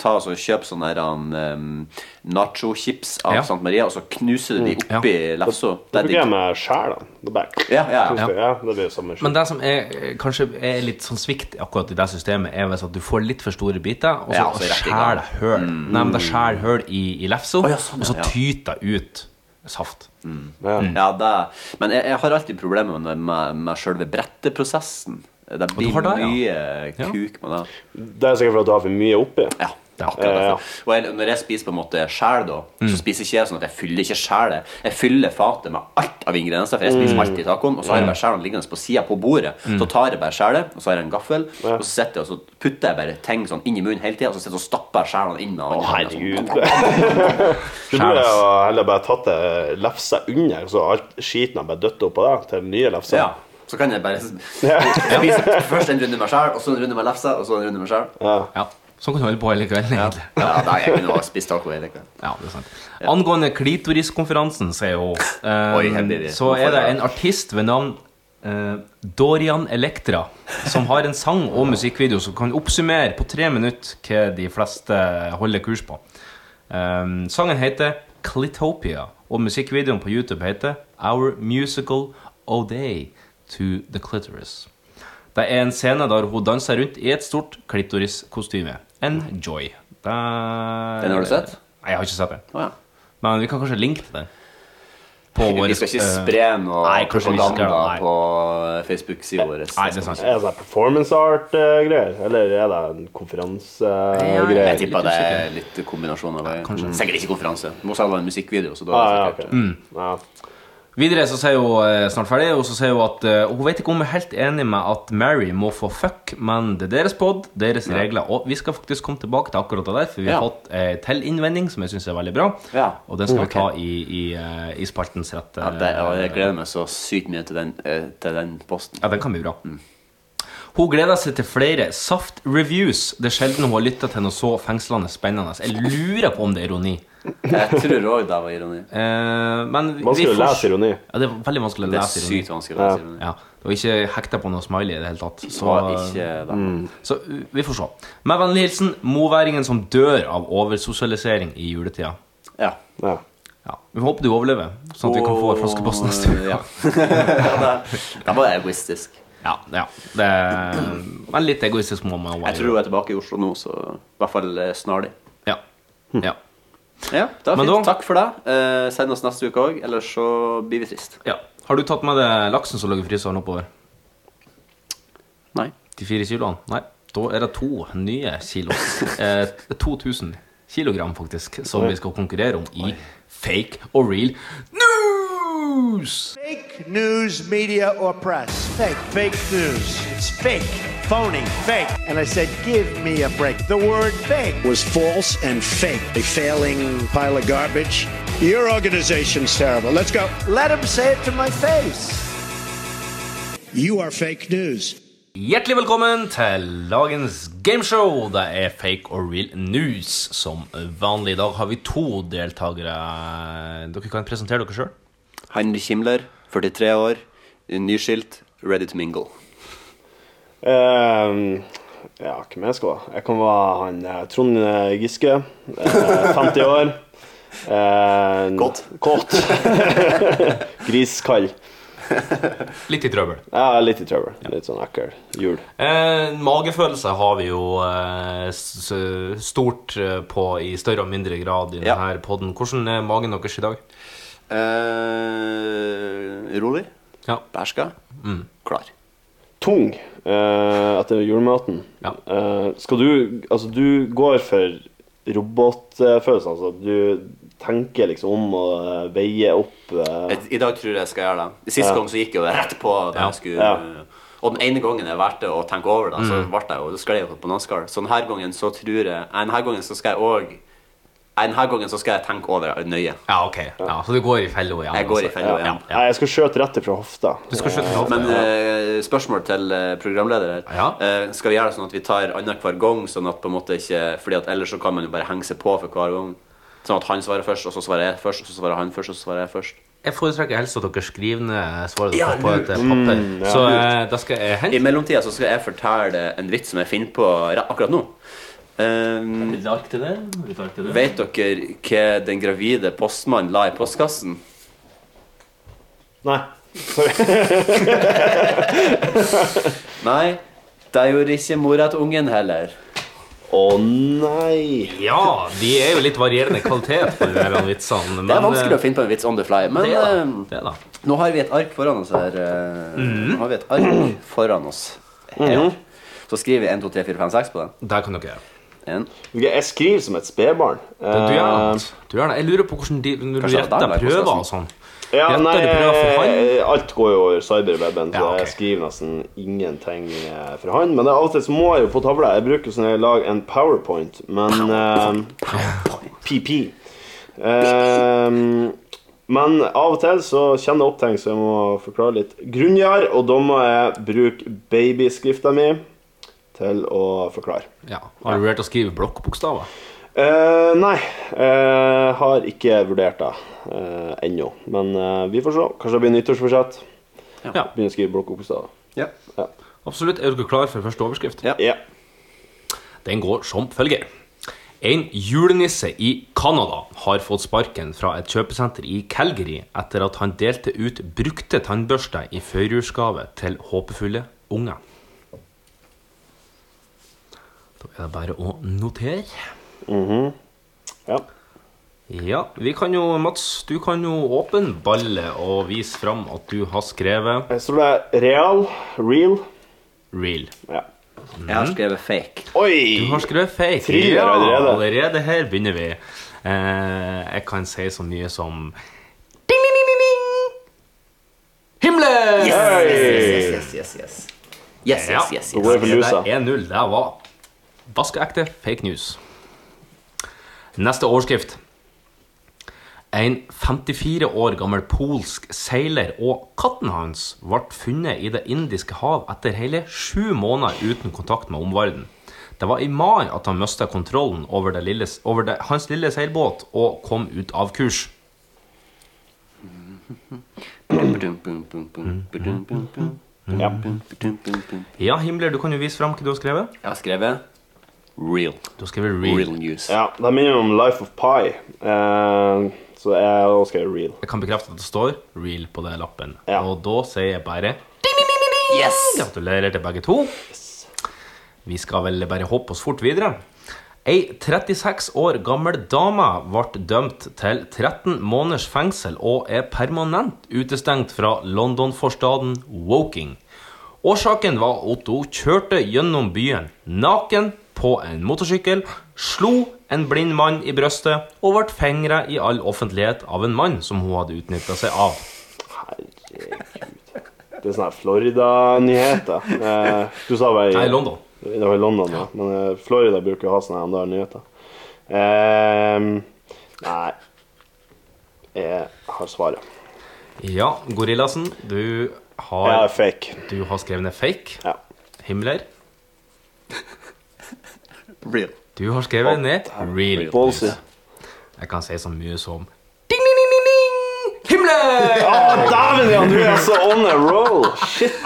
Speaker 3: ta og så kjøpe sånne her, um, nacho-chips av
Speaker 2: Ja. Mm.
Speaker 3: St. Maria, og så knuse de
Speaker 2: Ja.
Speaker 3: oppi lefsa?
Speaker 4: Det
Speaker 3: Det er
Speaker 4: bruker jeg
Speaker 3: digg.
Speaker 4: med sjæl, da. Det er bare-
Speaker 3: Ja, ja, ja.
Speaker 4: Ja. det blir jo samme
Speaker 2: Men
Speaker 4: skit.
Speaker 2: det som er, eh, kanskje er litt sånn svikt akkurat i det systemet, er hvis at du får litt for store biter, og så,
Speaker 3: Ja,
Speaker 2: og
Speaker 3: altså, så rekker
Speaker 2: skjærer
Speaker 3: ikke.
Speaker 2: det høl. Nei, men det skjærer høl i, i lefsa,
Speaker 3: Mm. ja, sånn,
Speaker 2: og så
Speaker 3: ja. Mm.
Speaker 2: tyter det ut saft.
Speaker 4: Ja.
Speaker 3: Ja, det men jeg, jeg har alltid problemer med, med, med sjølve bretteprosessen. Det blir
Speaker 2: har det, ja.
Speaker 3: mye
Speaker 2: Ja.
Speaker 3: kuk med det.
Speaker 4: Det er sikkert fordi du har for mye oppi.
Speaker 3: Ja, akkurat
Speaker 4: Ja, ja.
Speaker 3: derfor. Og jeg, når jeg spiser på en måte sjæl, da, så spiser ikke jeg sånn at jeg fyller ikke sjælet. Jeg fyller fatet med alt av ingredienser, for jeg spiser alltid tacoen, og så har jeg bare sjælen liggende på sida på bordet. Så tar jeg bare sjælet, og så har jeg en gaffel, og så sitter jeg og så putter jeg bare ting sånn inn i munnen hele tida, og så sitter jeg og stapper sjælen inn med den andre hånda, sånn.
Speaker 4: Herregud. Du burde jo heller bare tatt det lefsa under, så alt skiten har bare dødd oppå deg til den nye lefsa.
Speaker 3: Ja. Så kan jeg bare *laughs* spise først en runde med sjæl, og så en runde med lefse, og så en runde med sjæl.
Speaker 2: Ja, sånn kan du holde på hele kvelden, egentlig.
Speaker 3: Ja, nei, jeg kunne ha spist taco hele kvelden.
Speaker 2: Ja, det er sant. Angående klitoriskonferansen, sier hun, eh,
Speaker 3: Oi, her blir det.
Speaker 2: så er det en artist ved navn eh, Dorian Elektra som har en sang og musikkvideo som kan oppsummere på tre minutter hva de fleste holder kurs på. Eh, sangen heter Clitopia, og musikkvideoen på YouTube heter Our Musical O'Day to the Clitoris. Det er en scene der hun danser rundt i et stort klitoriskostyme. Enjoy. Det...
Speaker 3: Den har du sett?
Speaker 2: Nei, jeg har ikke sett den.
Speaker 3: Å, ja.
Speaker 2: Men vi kan kanskje linke til den. På eh,
Speaker 3: Vi skal ikke spre noe
Speaker 2: nei, kanskje vi ikke skal,
Speaker 3: propaganda
Speaker 2: nei.
Speaker 3: på Facebook-sida vår.
Speaker 2: Nei, det er sant.
Speaker 4: Er det sånn performance art-greier, eller er det en eh,
Speaker 2: Ja,
Speaker 4: konferansegreie?
Speaker 3: Jeg tipper det er litt kombinasjon av det. Mm. Sikkert ikke konferanse. Det Må selv være en musikkvideo. Så da
Speaker 4: Ja,
Speaker 3: er
Speaker 4: Ah, ja,
Speaker 3: det
Speaker 4: ok.
Speaker 3: sikkert-
Speaker 4: ja.
Speaker 2: Videre så sier hun eh, snart ferdig, og så sier hun at eh, hun vet ikke om hun er helt enig med at Mary må få fuck, men det er deres pod, deres regler, og vi skal faktisk komme tilbake til akkurat det der, for vi har
Speaker 3: Ja.
Speaker 2: fått eh, til innvending, som jeg syns er veldig bra,
Speaker 3: Ja.
Speaker 2: og den skal
Speaker 3: Ok.
Speaker 2: vi ta i, i, eh, i spaltens rette
Speaker 3: Ja, det, og jeg gleder meg så sykt mye til den, eh, til den posten.
Speaker 2: Ja, den kan bli bra.
Speaker 3: Mm.
Speaker 2: Hun gleder seg til flere Saft-reviews. Det er sjelden hun har lytta til noe så fengslende spennende. Jeg lurer på om det er ironi.
Speaker 3: Jeg tror òg det var ironi.
Speaker 2: Eh, men vi, vi
Speaker 4: Vanskelig å
Speaker 2: får-
Speaker 4: lese ironi.
Speaker 2: Ja, det er veldig vanskelig å
Speaker 3: Det er
Speaker 2: lese ironi.
Speaker 3: sykt vanskelig å lese ironi.
Speaker 2: Ja, Det var ikke hekta på noe smiley i det hele tatt. Så,
Speaker 3: Og ikke det.
Speaker 4: Mm.
Speaker 2: så uh, vi får se. Med vennlig hilsen moværingen som dør av oversosialisering i juletida.
Speaker 3: Ja.
Speaker 4: Ja.
Speaker 2: Ja, Vi håper du overlever, sånn at vi kan få en flaskepost neste uke.
Speaker 3: Ja. *laughs* det, det var egoistisk.
Speaker 2: *laughs* Ja, ja. Det er, men litt egoistisk må man
Speaker 3: Jeg tror hun er tilbake i Oslo nå, så i hvert fall eh, snarlig.
Speaker 2: Ja.
Speaker 3: Hm.
Speaker 2: ja.
Speaker 3: Ja, det var
Speaker 2: Men
Speaker 3: fint.
Speaker 2: da-
Speaker 3: Takk for det. Eh, send oss neste uke òg, ellers så blir vi trist.
Speaker 2: Ja. Har du tatt med deg laksen som lå i fryseren oppover?
Speaker 3: Nei.
Speaker 2: De fire kiloene? Nei. Da er det to nye kilo.
Speaker 3: *laughs*
Speaker 2: Eh, 2000 kilogram, faktisk, som vi skal konkurrere om i fake og real news!
Speaker 8: Fake news, media, or press. Fake. Fake news. It's fake. Phony. Fake. And I said, give me a break. The word fake was false and fake. A failing pile of garbage. Your organization's terrible. Let's go. Let him say it to my face. You are fake news.
Speaker 2: Hjertelig velkommen til dagens gameshow. Det er fake or real news som vanlig. I dag har vi to deltakere. Dere kan presentere dere sjøl.
Speaker 3: Heinrich Himmler, 43 år, nyskilt, ready to mingle.
Speaker 4: Ehm, ja, hvem jeg skal være? Jeg kan være han eh, Trond eh, Giske. eh, 50 år. Uh,
Speaker 3: Kåt.
Speaker 4: Kåt. Griskald.
Speaker 2: Litt i trøbbel.
Speaker 4: Ja, litt i trøbbel. Litt sånn ekkel jul.
Speaker 2: Eh, magefølelse har vi jo eh, s s- stort eh, på i større og mindre grad i
Speaker 3: Ja.
Speaker 2: denne podden. Hvordan er magen deres i dag?
Speaker 3: Eh, rolig.
Speaker 2: Ja. Mm.
Speaker 3: Bæsja. Klar.
Speaker 4: Tung. eh, etter julematen.
Speaker 2: Ja.
Speaker 4: Eh, skal du Altså, du går for robotfølelsen. Altså, du tenker liksom om og eh, veier opp eh,
Speaker 3: Et- I dag tror jeg jeg skal gjøre det. Sist gang så gikk jeg jo rett på at
Speaker 2: Ja.
Speaker 3: jeg skulle eh,
Speaker 4: Ja.
Speaker 3: Og den ene gangen jeg valgte å tenke over det,
Speaker 2: Mm.
Speaker 3: så ble jeg jo Da skled jeg på bananskall. Så denne gangen så tror jeg Nei, denne gangen så skal jeg òg Denne gangen så skal jeg tenke over det nøye.
Speaker 2: Ja, ok. Ja, så du går i fello igjen?
Speaker 3: Jeg går i
Speaker 2: altså.
Speaker 3: fella igjen.
Speaker 4: Nei, jeg skal skjøte rett ifra hofta.
Speaker 2: Du skal skjøtte
Speaker 3: Men
Speaker 2: kaldt.
Speaker 3: eh, spørsmål til eh, programleder her.
Speaker 2: Ja.
Speaker 3: Eh, skal vi gjøre det sånn at vi tar annenhver gang, sånn at på en måte ikke Fordi at ellers så kan man jo bare henge seg på for hver gang. Sånn at han svarer først, og så svarer jeg først, og så svarer han først, og så svarer jeg først.
Speaker 2: Jeg foretrekker helst at dere skriver ned svaret
Speaker 3: Ja,
Speaker 2: dere får på et eh, papir. Så eh, da skal jeg
Speaker 3: I
Speaker 2: hente
Speaker 3: mellomtida så skal jeg fortelle en vits som jeg finner på ra- akkurat nå. Um,
Speaker 2: Litt ark til det. Litt ark til det.
Speaker 3: vet dere hva den gravide postmannen la i postkassen?
Speaker 4: Nei.
Speaker 3: Nei, det gjorde ikke mora til ungen heller.
Speaker 4: Å nei.
Speaker 2: Ja, de er jo litt varierende kvalitet på de der vitsene.
Speaker 3: Det er vanskelig å finne på en vits on the fly, men
Speaker 2: eh, det er da.
Speaker 3: um,
Speaker 2: Det er da.
Speaker 3: nå har vi et ark foran oss her. eh,
Speaker 2: Mm.
Speaker 3: Nå har vi et ark foran oss her. Så skriver vi 1, 2, 3, 4, 5, 6 på den.
Speaker 2: Det kan dere gjøre.
Speaker 3: En.
Speaker 4: Ok, Jeg skriver som et spedbarn.
Speaker 2: Du gjør det.
Speaker 4: Eh,
Speaker 2: Mats. Du gjør det. Jeg lurer på hvordan de Når du
Speaker 3: Kanskje det er der,
Speaker 2: retter
Speaker 3: der,
Speaker 2: prøver
Speaker 3: postkassen.
Speaker 2: og sånn.
Speaker 4: Ja,
Speaker 2: Retter
Speaker 4: nei,
Speaker 2: du prøver for hånd?
Speaker 4: eh, alt går jo over cyberweben, så
Speaker 2: Ja, ok.
Speaker 4: jeg skriver nesten ingenting eh, for hånd. Men det er av og til så må jeg jo på tavla. Jeg bruker sånn jeg lager en powerpoint, men eh, PP. Eh, men av og til så kjenner jeg opp ting, så jeg må forklare litt grunngjør, og da må jeg bruke babyskrifta mi til å forklare.
Speaker 2: Ja. Har du vurdert å skrive blokkbokstaver?
Speaker 4: Eh, nei, eh, har ikke vurdert det eh, ennå. Men eh, vi får se. Kanskje det blir nyttårsforsett.
Speaker 2: Ja.
Speaker 4: Begynner å skrive blokkokstaver.
Speaker 3: Ja.
Speaker 2: Absolutt. Er dere klare for første overskrift?
Speaker 3: Ja.
Speaker 4: Ja.
Speaker 2: Den går som følger. En julenisse i Canada har fått sparken fra et kjøpesenter i Calgary etter at han delte ut brukte tannbørster i førjulsgave til håpefulle unger. Da er det bare å notere.
Speaker 4: ja.
Speaker 2: Ja, vi kan jo, Mats, du kan jo åpne ballet og vise fram at du har skrevet
Speaker 4: Jeg står Eh, det real, real.
Speaker 2: real.
Speaker 4: Ja.
Speaker 3: Jeg
Speaker 2: Mm.
Speaker 3: har skrevet fake.
Speaker 2: Du
Speaker 4: Oi!
Speaker 2: har skrevet fake.
Speaker 4: Thriller allerede.
Speaker 2: allerede her begynner vi. Eh, jeg kan si så mye som ding, ding, ding, ding, ding. Himmelen!
Speaker 4: Hey!
Speaker 3: Yes, yes, yes. Yes,
Speaker 2: Ja.
Speaker 3: yes, yes,
Speaker 4: Da går
Speaker 3: yes.
Speaker 4: jeg for lusa.
Speaker 2: Det er 1-0. Det var vaskeekte fake news. Neste overskrift. En 54 år gammel polsk seiler og katten hans ble funnet i Det indiske hav etter hele sju måneder uten kontakt med omverdenen. Det var i mai at han mista kontrollen over, det lille, over det, hans lille seilbåt og kom ut av kurs. Mm.
Speaker 4: Ja.
Speaker 2: Ja, Himmler, du kan jo vise fram hva du har skrevet.
Speaker 3: Jeg har skrevet real.
Speaker 2: Du har skrevet
Speaker 3: Real
Speaker 2: real.
Speaker 3: news.
Speaker 4: ja. Det minner om Life of Pi. Eh, så jeg også skrev real.
Speaker 2: Jeg kan bekrefte at det står real på den lappen.
Speaker 4: Ja.
Speaker 2: Og da sier jeg bare
Speaker 3: Yes!
Speaker 2: gratulerer til begge to. Vi skal vel bare hoppe oss fort videre. Ei 36 år gammel dame ble dømt til 13 måneders fengsel og er permanent utestengt fra London-forstaden Woking. Årsaken var at hun kjørte gjennom byen naken på en motorsykkel, slo en blind mann i brøstet og ble fengra i all offentlighet av en mann som hun hadde utnytta seg av.
Speaker 4: Herregud. Det er sånne her Florida-nyheter. Eh, du sa bare
Speaker 2: Nei, London.
Speaker 4: Det var i London, ja. Men eh, Florida bruker å ha sånne her andre nyheter. Ehm, nei Jeg har svaret.
Speaker 2: Ja, Gorillasen, du har
Speaker 4: Jeg er fake.
Speaker 2: Du har skrevet ned fake.
Speaker 4: Ja.
Speaker 2: Himmler.
Speaker 3: Real.
Speaker 2: Du har skrevet ned real.
Speaker 4: Ballsy.
Speaker 2: Jeg kan si så mye som ding, ding, ding, ding, ding. Himmler!
Speaker 4: Å, dæven, ja! Du er så on a roll! Shit.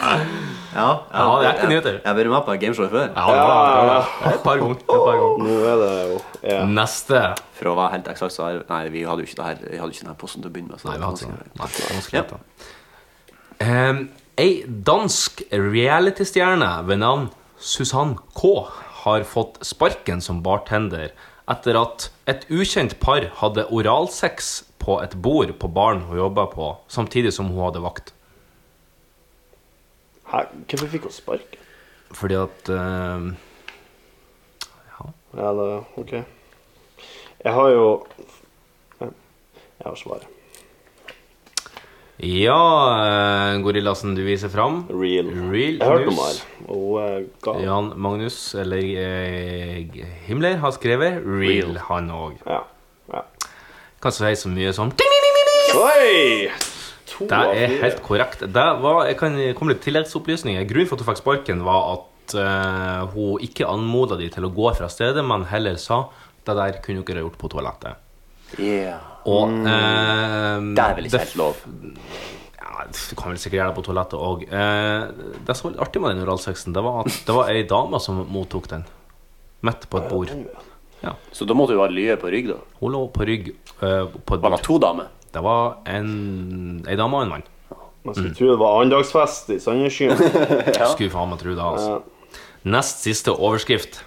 Speaker 3: Ja,
Speaker 2: Ja, det er ikke nyheter.
Speaker 3: Jeg har vært med på et gameshow før.
Speaker 2: Ja, det var det. var- det var Et par ganger. Et par ganger.
Speaker 4: Nå er det jo ja.
Speaker 2: Neste.
Speaker 3: For å være helt eksakt, så har Nei, vi hadde jo ikke det her Vi hadde ikke denne posten til å begynne med. Så
Speaker 2: Nei, vi hadde ikke det. altså- Nei, det var vanskelig
Speaker 3: Ja.
Speaker 2: å vite. Ehm, Ei dansk realitystjerne ved navn Susann K har fått sparken som bartender etter at et ukjent par hadde oralsex på et bord på baren hun jobba på, samtidig som hun hadde vakt.
Speaker 4: Hæ, Hvorfor fikk hun sparken?
Speaker 2: Fordi at eh,
Speaker 4: Ja, det, ok. Jeg har jo ja, Jeg har svaret.
Speaker 2: Ja, eh, gorillasen du viser fram.
Speaker 4: Real.
Speaker 2: Real
Speaker 4: Jeg hørte om
Speaker 2: Knus.
Speaker 4: her. Og eh, ga ja.
Speaker 2: Jan Magnus, eller eh, Himmler, har skrevet Real,
Speaker 4: Real.
Speaker 2: han òg.
Speaker 4: ja.
Speaker 2: Kan si så mye som
Speaker 4: Oi! To
Speaker 2: Det
Speaker 4: av
Speaker 2: er
Speaker 4: fire.
Speaker 2: helt korrekt. Det var, jeg kan komme litt tilleggsopplysninger. Grunnen for at hun fikk sparken, var at eh, hun ikke anmoda de til å gå fra stedet, men heller sa det der kunne dere gjort på toalettet. Og eh,
Speaker 3: Mm. Det er vel ikke
Speaker 2: det-
Speaker 3: helt lov.
Speaker 2: Ja, du kan vel sikkert gjøre det på toalettet òg. Eh, det som var litt artig med den oralsexen, det var at det var ei dame som mottok den. Midt på et bord.
Speaker 3: Så da måtte du ha lye på rygg, da.
Speaker 2: Hun lå på rygg eh, på et
Speaker 3: Var det
Speaker 2: bord.
Speaker 3: to damer?
Speaker 2: Det var en, ei dame og en mann.
Speaker 4: Man skulle tro det var annendagsfest i Sandnessjøen.
Speaker 2: Skulle faen meg tro det, altså. Nest siste overskrift.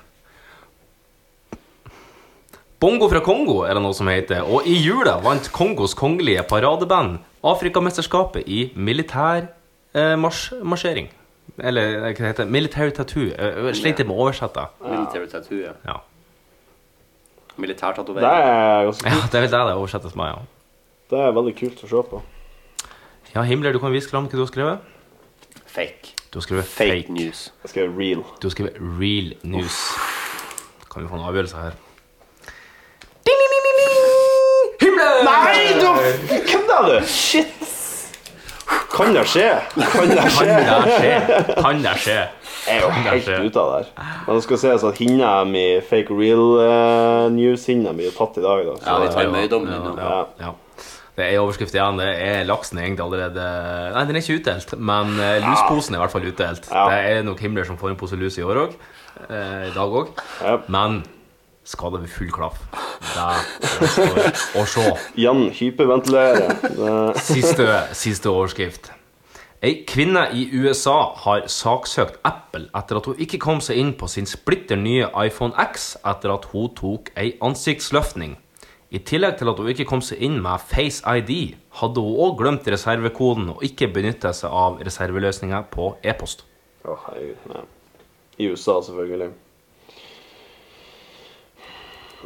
Speaker 2: Bongo fra Kongo er det noe som heter, og i jula vant Kongos kongelige paradeband Afrikamesterskapet i militær eh, mars marsjering. Eller eh, hva det heter det? Military tattoo. Eh, Jeg sliter med å oversette.
Speaker 3: Military tattoo, ja.
Speaker 2: Ja. *laughs*
Speaker 4: Det
Speaker 3: Militærtatovering.
Speaker 4: er ganske
Speaker 2: ja,
Speaker 4: kult.
Speaker 2: det er vel det det oversettes med, ja.
Speaker 4: Det er veldig kult å se på.
Speaker 2: Ja, Himmler, du kan vise fram hva du har skrevet.
Speaker 3: Fake.
Speaker 2: Du har skrevet
Speaker 3: Fake,
Speaker 2: fake.
Speaker 3: news.
Speaker 4: Jeg skal være real.
Speaker 2: Du har skrevet real news. Kan vi få en avgjørelse her? Himmler!
Speaker 4: Nei, du Hvem er du? Shit! Kan det skje? Kan det skje?
Speaker 2: Kan det
Speaker 4: *laughs*
Speaker 2: skje? Kan det skje?
Speaker 4: Jeg er jo
Speaker 2: Kan det
Speaker 4: helt
Speaker 2: skje?
Speaker 4: ute av det her. Men det skal sies at hinna mi, fake real eh, news-hinna mi, er tatt i dag. da. Så,
Speaker 3: Ja, vi tar
Speaker 2: Ja,
Speaker 3: møydommen
Speaker 2: ja,
Speaker 3: nå.
Speaker 2: ja, ja. Det er overskrift igjen. Det er laksen er egentlig allerede Nei, den er ikke utdelt, men eh, lusposen er i hvert fall utdelt.
Speaker 4: Ja.
Speaker 2: Det er nok Himmler som får en pose lus i år òg. I dag òg.
Speaker 4: Ja.
Speaker 2: Men skal det bli full klaff? Det gjenstår å se.
Speaker 4: Jan hyperventilerer. Det-
Speaker 2: Siste, siste overskrift. Ei kvinne i USA har saksøkt Apple etter at hun ikke kom seg inn på sin splitter nye iPhone X etter at hun tok ei ansiktsløftning. I tillegg til at hun ikke kom seg inn med Face ID, hadde hun òg glemt reservekoden og ikke benytta seg av reserveløsninga på e-post.
Speaker 4: Å, herregud. Ja. I USA, selvfølgelig.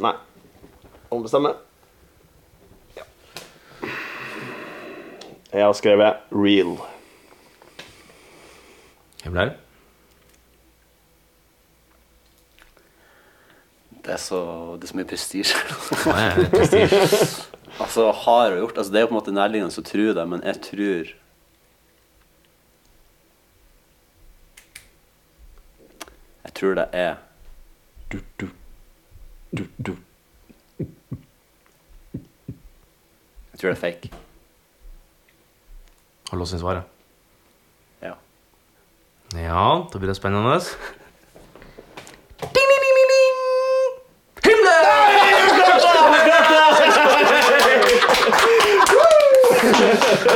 Speaker 4: Nei. Ombestemme. Ja. Jeg har skrevet 'real'.
Speaker 2: Himmler?
Speaker 3: Det er så, det er så mye prestisje.
Speaker 2: Nei, det er prestisje.
Speaker 3: *laughs* altså, har jeg gjort altså, Det er jo på en måte nærliggende å tro det, men jeg tror Jeg tror det er du, du, du, du. Jeg tror det er fake.
Speaker 2: Har du låst inn svaret?
Speaker 3: Ja.
Speaker 2: Ja, da blir det spennende. Ding, ding, ding, ding, ding. Himmler!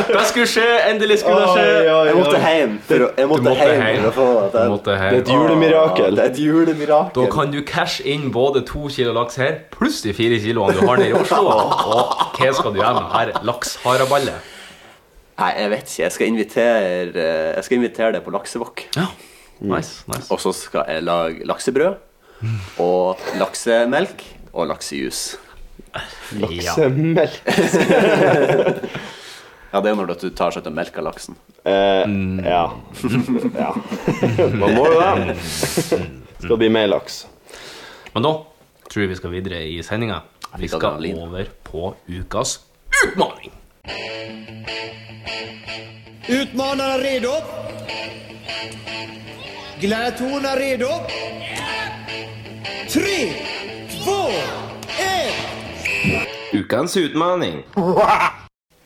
Speaker 2: Det skulle skje. Endelig skulle det skje.
Speaker 3: Jeg måtte hjem for å, jeg måtte
Speaker 2: Du måtte
Speaker 3: hjem
Speaker 2: hjem.
Speaker 3: for å få det.
Speaker 2: Du måtte hjem.
Speaker 3: Det
Speaker 4: Et julemirakel.
Speaker 3: er et julemirakel.
Speaker 2: Da kan du cashe inn både to kilo laks her pluss de fire kiloene du har nede i Oslo. Og hva skal du gjøre med her laksharaballet?
Speaker 3: Nei, jeg vet ikke. Jeg skal invitere, eh, jeg skal invitere deg på laksevåk.
Speaker 2: Ja. Nice, nice.
Speaker 3: Og så skal jeg lage laksebrød og laksemelk og laksejus.
Speaker 2: Ja.
Speaker 4: Laksemelk.
Speaker 3: Ja, det er jo når du tar seg til melk av laksen.
Speaker 4: Eh, ja. ja. *laughs* Man må jo det. Skal bli mer laks.
Speaker 2: Men da tror jeg vi skal videre i sendinga. Vi skal
Speaker 3: adrenalin.
Speaker 2: over på ukas utfordring.
Speaker 8: Utmanaren redo? Gladiatorerna redo? Tre, två, ett!
Speaker 2: Ukens utfordring.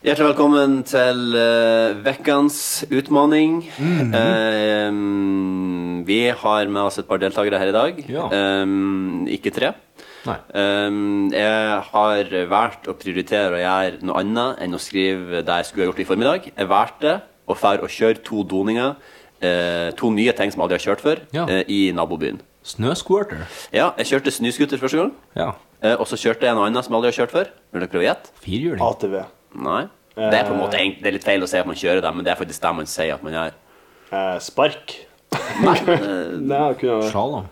Speaker 3: Hjertelig velkommen til uh, vekkens utmaning. Eh, vi har med oss et par deltakere her i dag.
Speaker 2: Ja.
Speaker 3: Eh, ikke tre.
Speaker 2: Nei.
Speaker 3: Um, jeg har valgt å prioritere å gjøre noe annet enn å skrive det jeg skulle ha gjort i formiddag. Jeg valgte å fære å kjøre to doninger, eh, to nye ting som jeg aldri har kjørt før,
Speaker 2: Ja.
Speaker 3: eh, i nabobyen.
Speaker 2: Snøsquirter.
Speaker 3: Ja, jeg kjørte snøscooter første gang,
Speaker 2: Ja.
Speaker 3: eh, og så kjørte jeg noe annet som jeg aldri har kjørt før. Vil dere prøve å gjette?
Speaker 2: Firhjuling.
Speaker 4: ATV.
Speaker 3: Nei. Det er på en måte egentlig- det er litt feil å si at man kjører det, men det er faktisk det man sier at man gjør.
Speaker 4: Eh, spark. Nei, jeg kunne ha
Speaker 2: Slalåm.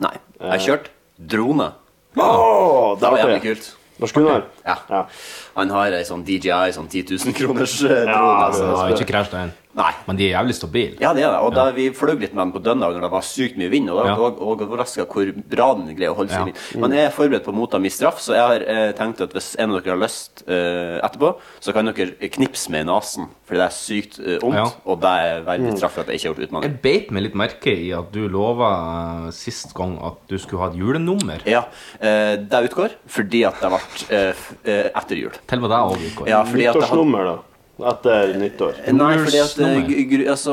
Speaker 3: Nei. Jeg kjørte drone.
Speaker 4: Åh,
Speaker 3: Det var
Speaker 4: der
Speaker 3: jævlig
Speaker 4: artig.
Speaker 3: kult.
Speaker 4: Lars Gunnar?
Speaker 3: Ja. Han har ei sånn DJI, sånn 10 000 kroners eh, drone.
Speaker 4: Ja,
Speaker 3: så-
Speaker 2: Jeg har ikke krasjet ennå.
Speaker 3: Nei.
Speaker 2: Men de er jævlig stabile.
Speaker 3: Ja, det er det. Og da vi fløy litt med den på Dønna når det var sykt mye vind, og da
Speaker 2: Ja.
Speaker 3: var jeg overraska hvor bra den greier å holde seg
Speaker 2: Ja.
Speaker 3: i vind. Men jeg er forberedt på å motta min straff, så jeg har eh, tenkt at hvis en av dere har lyst eh, etterpå, så kan dere knipse meg i nesen, fordi det er sykt eh, vondt,
Speaker 2: Ja.
Speaker 3: og det er veldig straff for at jeg ikke har gjort utmanning.
Speaker 2: Jeg beit meg litt merke i at du lova sist gang at du skulle ha et julenummer.
Speaker 3: Ja, eh, det utgår fordi at det ble eh, f- eh, etter jul.
Speaker 2: Til og med deg òg, Vikar.
Speaker 3: Ja, fordi at det hadde-
Speaker 4: Nyttårsnummer, da. Etter nyttår.
Speaker 3: Nei, fordi at, eh,
Speaker 2: Nummers
Speaker 3: gr- gr- altså,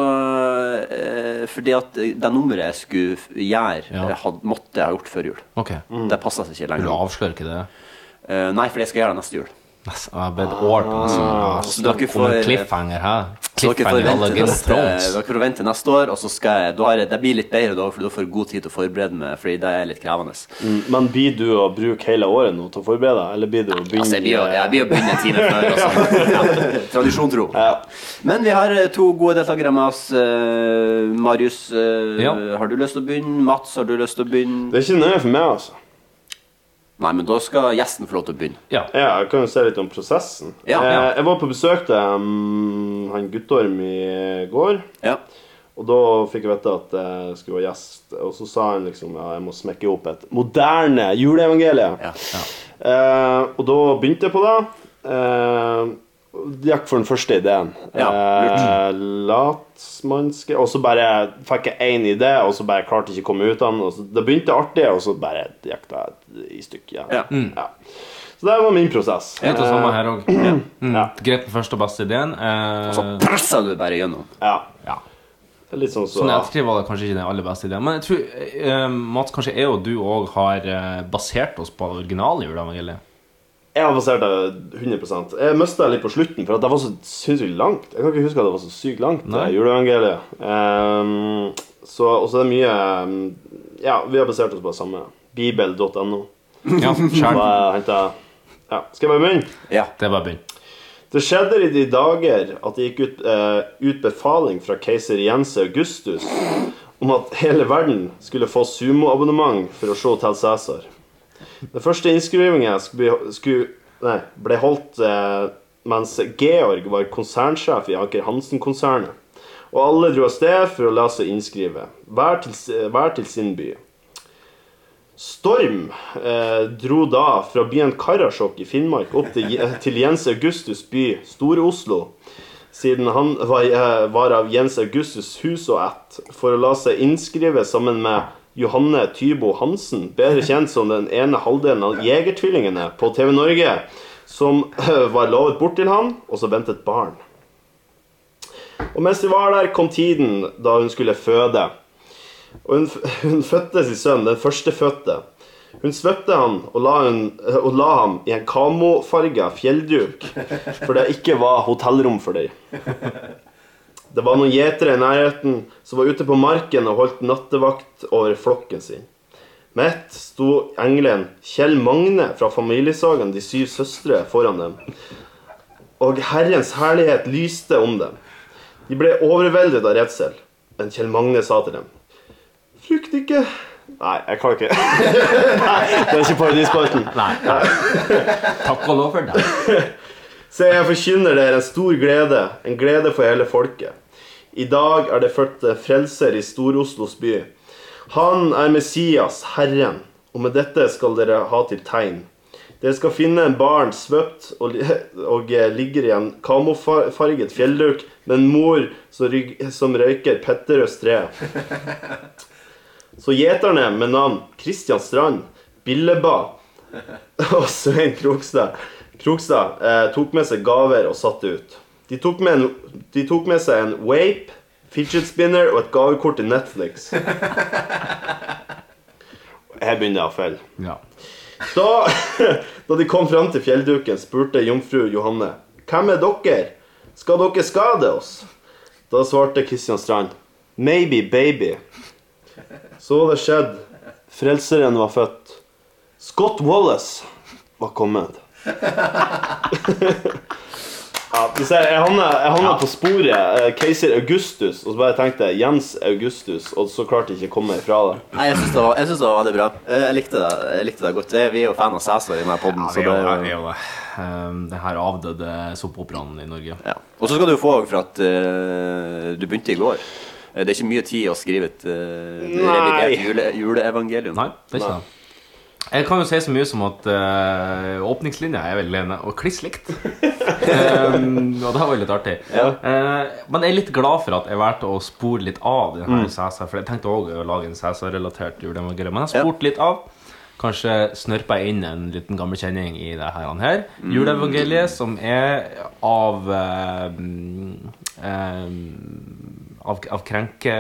Speaker 3: eh, fordi at eh, det nummeret jeg skulle f- gjøre,
Speaker 2: Ja.
Speaker 3: eh, had, måtte jeg ha gjort før jul.
Speaker 2: Ok.
Speaker 3: Det passet seg ikke
Speaker 2: Vil
Speaker 3: lenger.
Speaker 2: du avsløre ikke det?
Speaker 3: Eh, nei, for jeg skal gjøre det neste jul.
Speaker 2: Yes, Jeg har bedt år på nesten.
Speaker 3: Ah, Så
Speaker 2: Ja,
Speaker 3: dere
Speaker 2: Om en
Speaker 3: får-
Speaker 2: cliffhanger her.
Speaker 3: Så dere får
Speaker 2: Cliffhanger à la
Speaker 3: vente
Speaker 2: Game of
Speaker 3: neste,
Speaker 2: Thrones.
Speaker 3: dere får vente neste år, og så skal jeg da har jeg, Det blir litt bedre da, for da får jeg god tid til å forberede meg, fordi det er litt krevende.
Speaker 4: Men blir du å bruke hele året nå til å forberede deg, eller blir du å begynne
Speaker 3: Altså, jeg blir jo- jeg blir jo begynne en time før. Altså. Ja, tradisjon tro. Men vi har eh, to gode deltakere med oss. Eh, Marius, eh,
Speaker 2: Ja.
Speaker 3: har du lyst til å begynne? Mats, har du lyst til å begynne?
Speaker 4: Det er ikke nøye for meg, altså.
Speaker 3: Nei, men da skal gjesten få lov til å begynne.
Speaker 2: Ja.
Speaker 4: Ja, jeg kan jo se litt om prosessen.
Speaker 3: Ja,
Speaker 4: Eh,
Speaker 3: ja.
Speaker 4: Jeg, var på besøk til mm, han Guttorm i går,
Speaker 3: Ja.
Speaker 4: og da fikk jeg vite at jeg skulle være gjest. Og så sa han liksom ja, jeg må smekke opp et moderne juleevangelie.
Speaker 3: Ja.
Speaker 4: Eh, og da begynte jeg på det. Eh, og gikk for den første ideen.
Speaker 3: Ja,
Speaker 4: eh, Latmannske Og så bare fikk jeg én idé, og så bare klarte jeg ikke å komme ut av den. Og så, det begynte artig, og så bare gikk det i stykker. Ja.
Speaker 3: Ja.
Speaker 4: Ja. Så det var min prosess.
Speaker 2: Litt det samme her
Speaker 3: *clears throat*
Speaker 2: òg. Mm.
Speaker 4: Ja.
Speaker 2: Greit den første og beste ideen. Eh,
Speaker 3: Så presser du bare gjennom.
Speaker 4: Ja.
Speaker 2: ja.
Speaker 4: Det er Litt sånn så
Speaker 2: Sånn i ettertid var det kanskje ikke den aller beste ideen. Men jeg tror, eh, Mats, kanskje jeg og du òg har eh, basert oss på det originale juleevangeliet.
Speaker 4: Jeg har basert det 100 Jeg mista litt på slutten, for at det var så sinnssykt langt. Jeg kan ikke huske at det var så sykt langt, det
Speaker 2: Nei.
Speaker 4: juleevangeliet. Ehm, så og så er det mye ehm, Ja, vi har basert oss på det samme. Bibel.no.
Speaker 2: Ja,
Speaker 4: Så
Speaker 2: sjæl.
Speaker 4: jeg hentet- Ja, skal jeg bare begynne?
Speaker 3: Ja.
Speaker 2: Det er bare å begynne.
Speaker 4: Det skjedde i de dager at det gikk ut, eh, ut befaling fra keiser Jens Augustus om at hele verden skulle få sumoabonnement for å se Tel Cæsar. Den første innskrivingen skulle, bli- skulle, nei, ble holdt eh, mens Georg var konsernsjef i Anker Hansen-konsernet. Og alle dro av sted for å lese og innskrive, hver til, s- hver til sin by. Storm eh, dro da fra byen Karasjok i Finnmark opp til, *laughs* til Jens Augustus by, Store-Oslo, siden han var, eh, var av Jens Augustus hus og ett, for å la seg innskrive sammen med Johanne Tybo Hansen, bedre kjent som den ene halvdelen av Jegertvillingene på TV Norge, som eh, var lovet bort til han, og så ventet barn. Og mens de var der, kom tiden da hun skulle føde. Og hun, f- hun fødte sin sønn, den førstefødte. Hun svøpte han og la, hun, og la ham i en kamofarga fjellduk, for det ikke var hotellrom for dem. Det var noen gjetere i nærheten som var ute på marken og holdt nattevakt over flokken sin. Midt sto engelen Kjell Magne fra familiesagen De syv søstre foran dem, og Herrens herlighet lyste om dem. De ble overveldet av redsel, men Kjell Magne sa til dem Frykt ikke. Nei, jeg klarer ikke. *laughs* Nei, det er ikke parodispalten.
Speaker 2: *laughs* Takk og lov for det.
Speaker 4: Se, jeg forkynner dere en stor glede, en glede for hele folket. I dag er det født en frelser i Stor-Oslos by. Han er Messias, Herren, og med dette skal dere ha til tegn. Dere skal finne en barn svøpt og, li- og eh, ligger i en kamofarget fjellduk med en mor som, ryg, som røyker Petterøes tre. Så gjeterne med navn Kristian Strand, Billeba *laughs* og Svein Krokstad, Krokstad eh, tok med seg gaver og satte ut. De tok med, en, de tok med seg en vape, fidget spinner og et gavekort til Netflix. Her begynner jeg å felle.
Speaker 2: Ja.
Speaker 4: Da, *laughs* da de kom fram til fjellduken, spurte jomfru Johanne Hvem er dere? Skal dere skade oss? Da svarte Kristian Strand Maybe baby. Så det skjedd. Frelseren var født. Scott Wallace var kommet. *laughs* Ja, hvis jeg jeg havna, jeg havna på sporet eh, keiser Augustus, og så bare tenkte jeg Jens Augustus, og så klarte jeg ikke å komme meg ifra det.
Speaker 3: Nei, jeg syns det, var- jeg syns det var veldig bra. Eh, Jeg likte det, jeg likte det godt. Det- Vi er jo fan av Cæsar i denne poden.
Speaker 2: Ja,
Speaker 3: så
Speaker 2: vi
Speaker 3: det
Speaker 2: er jo-
Speaker 3: er
Speaker 2: vi er
Speaker 3: jo-
Speaker 2: jo det. Ehm, Det her avdøde soppoperaen i Norge.
Speaker 3: ja. Og så skal du få for at eh, du begynte i går. Eh, Det er ikke mye tid å skrive et eh,
Speaker 4: Nei.
Speaker 3: revidert jule, juleevangelium.
Speaker 2: Nei, det er ikke det. Jeg kan jo si så mye som at eh, åpningslinja er veldig lene og kliss *laughs* likt. Ehm, og det var litt artig. Eh, men jeg er litt glad for at jeg valgte å spore litt av denne mm. Cæsar. For jeg tenkte også å lage en Cæsar-relatert juleevangelium. Men jeg spurte litt av. Kanskje snørpa jeg inn en liten gammel kjenning i det her. her. Juleevangeliet, som er av eh, mm, eh, av, av krenke,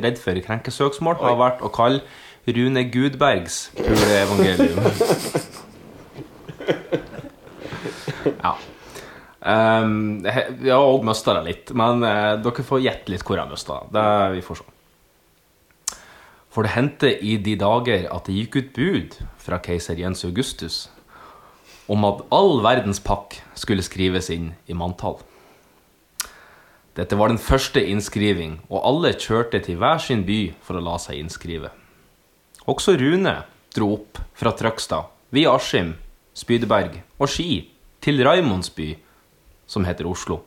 Speaker 2: redd for krenkesøksmål, har vært å kalle Rune Gudbergs puleevangelium. ja. Ehm, he- vi har òg mista det litt, men eh, dere får gjette litt hvor jeg mista det. Det- Vi får se. For det hendte i de dager at det gikk ut bud fra keiser Jens Augustus om at all verdens pakk skulle skrives inn i manntall. Dette var den første innskriving, og alle kjørte til hver sin by for å la seg innskrive. Også Rune dro opp fra Trøgstad, via Askim, Spydeberg og Ski, til Raimondsby, som heter Oslo.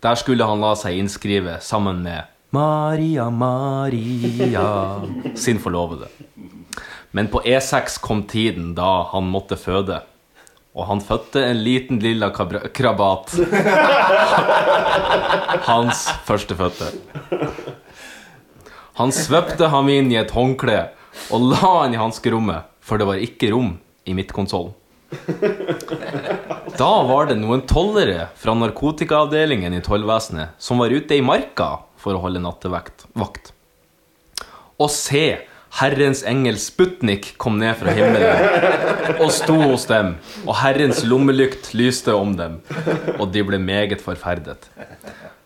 Speaker 2: Der skulle han la seg innskrive sammen med Maria, Maria sin forlovede. Men på E6 kom tiden da han måtte føde, og han fødte en liten lilla kabra- krabat. Hans førstefødte. Han svøpte ham inn i et håndkle og la han i hanskerommet, for det var ikke rom i midtkonsollen. Da var det noen tollere fra narkotikaavdelingen i tollvesenet som var ute i marka for å holde nattevakt. Vakt. Og se, Herrens engel Sputnik kom ned fra himmelen og sto hos dem, og Herrens lommelykt lyste om dem, og de ble meget forferdet.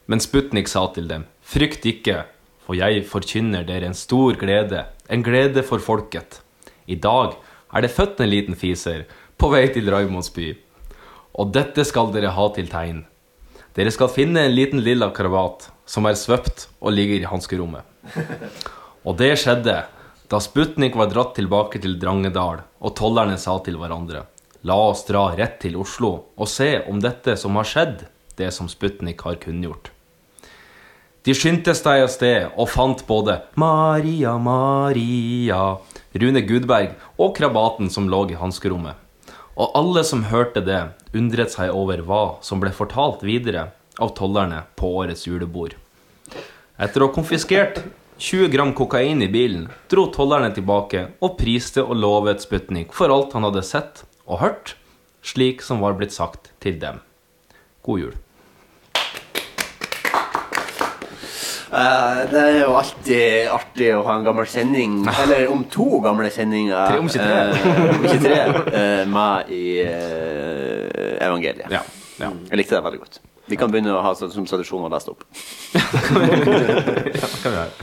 Speaker 2: Men Sputnik sa til dem, frykt ikke, for jeg forkynner dere en stor glede, en glede for folket. I dag er det født en liten fiser på vei til Raimonds by. Og dette skal dere ha til tegn. Dere skal finne en liten lilla krabat som er svøpt og ligger i hanskerommet. Og det skjedde da Sputnik var dratt tilbake til Drangedal, og tollerne sa til hverandre La oss dra rett til Oslo og se om dette som har skjedd, det som Sputnik har kunngjort. De skyndte seg av sted og fant både Maria, Maria, Rune Gudberg og krabaten som lå i hanskerommet. Og alle som hørte det, undret seg over hva som ble fortalt videre av tollerne på årets julebord. Etter å ha konfiskert 20 gram kokain i bilen, dro tollerne tilbake og priste og lovet Sputnik for alt han hadde sett og hørt, slik som var blitt sagt til dem. God jul.
Speaker 3: Eh, det er jo alltid artig å ha en gammel sending, eller om to gamle sendinger
Speaker 2: Tre- om ikke tre.
Speaker 3: eh, om ikke tre,
Speaker 2: *laughs*
Speaker 3: eh, med i eh, evangeliet.
Speaker 2: Ja, ja.
Speaker 3: Jeg likte det veldig godt. Vi kan begynne å ha sånn som tradisjon å lese det opp.
Speaker 2: Hva skal vi gjøre?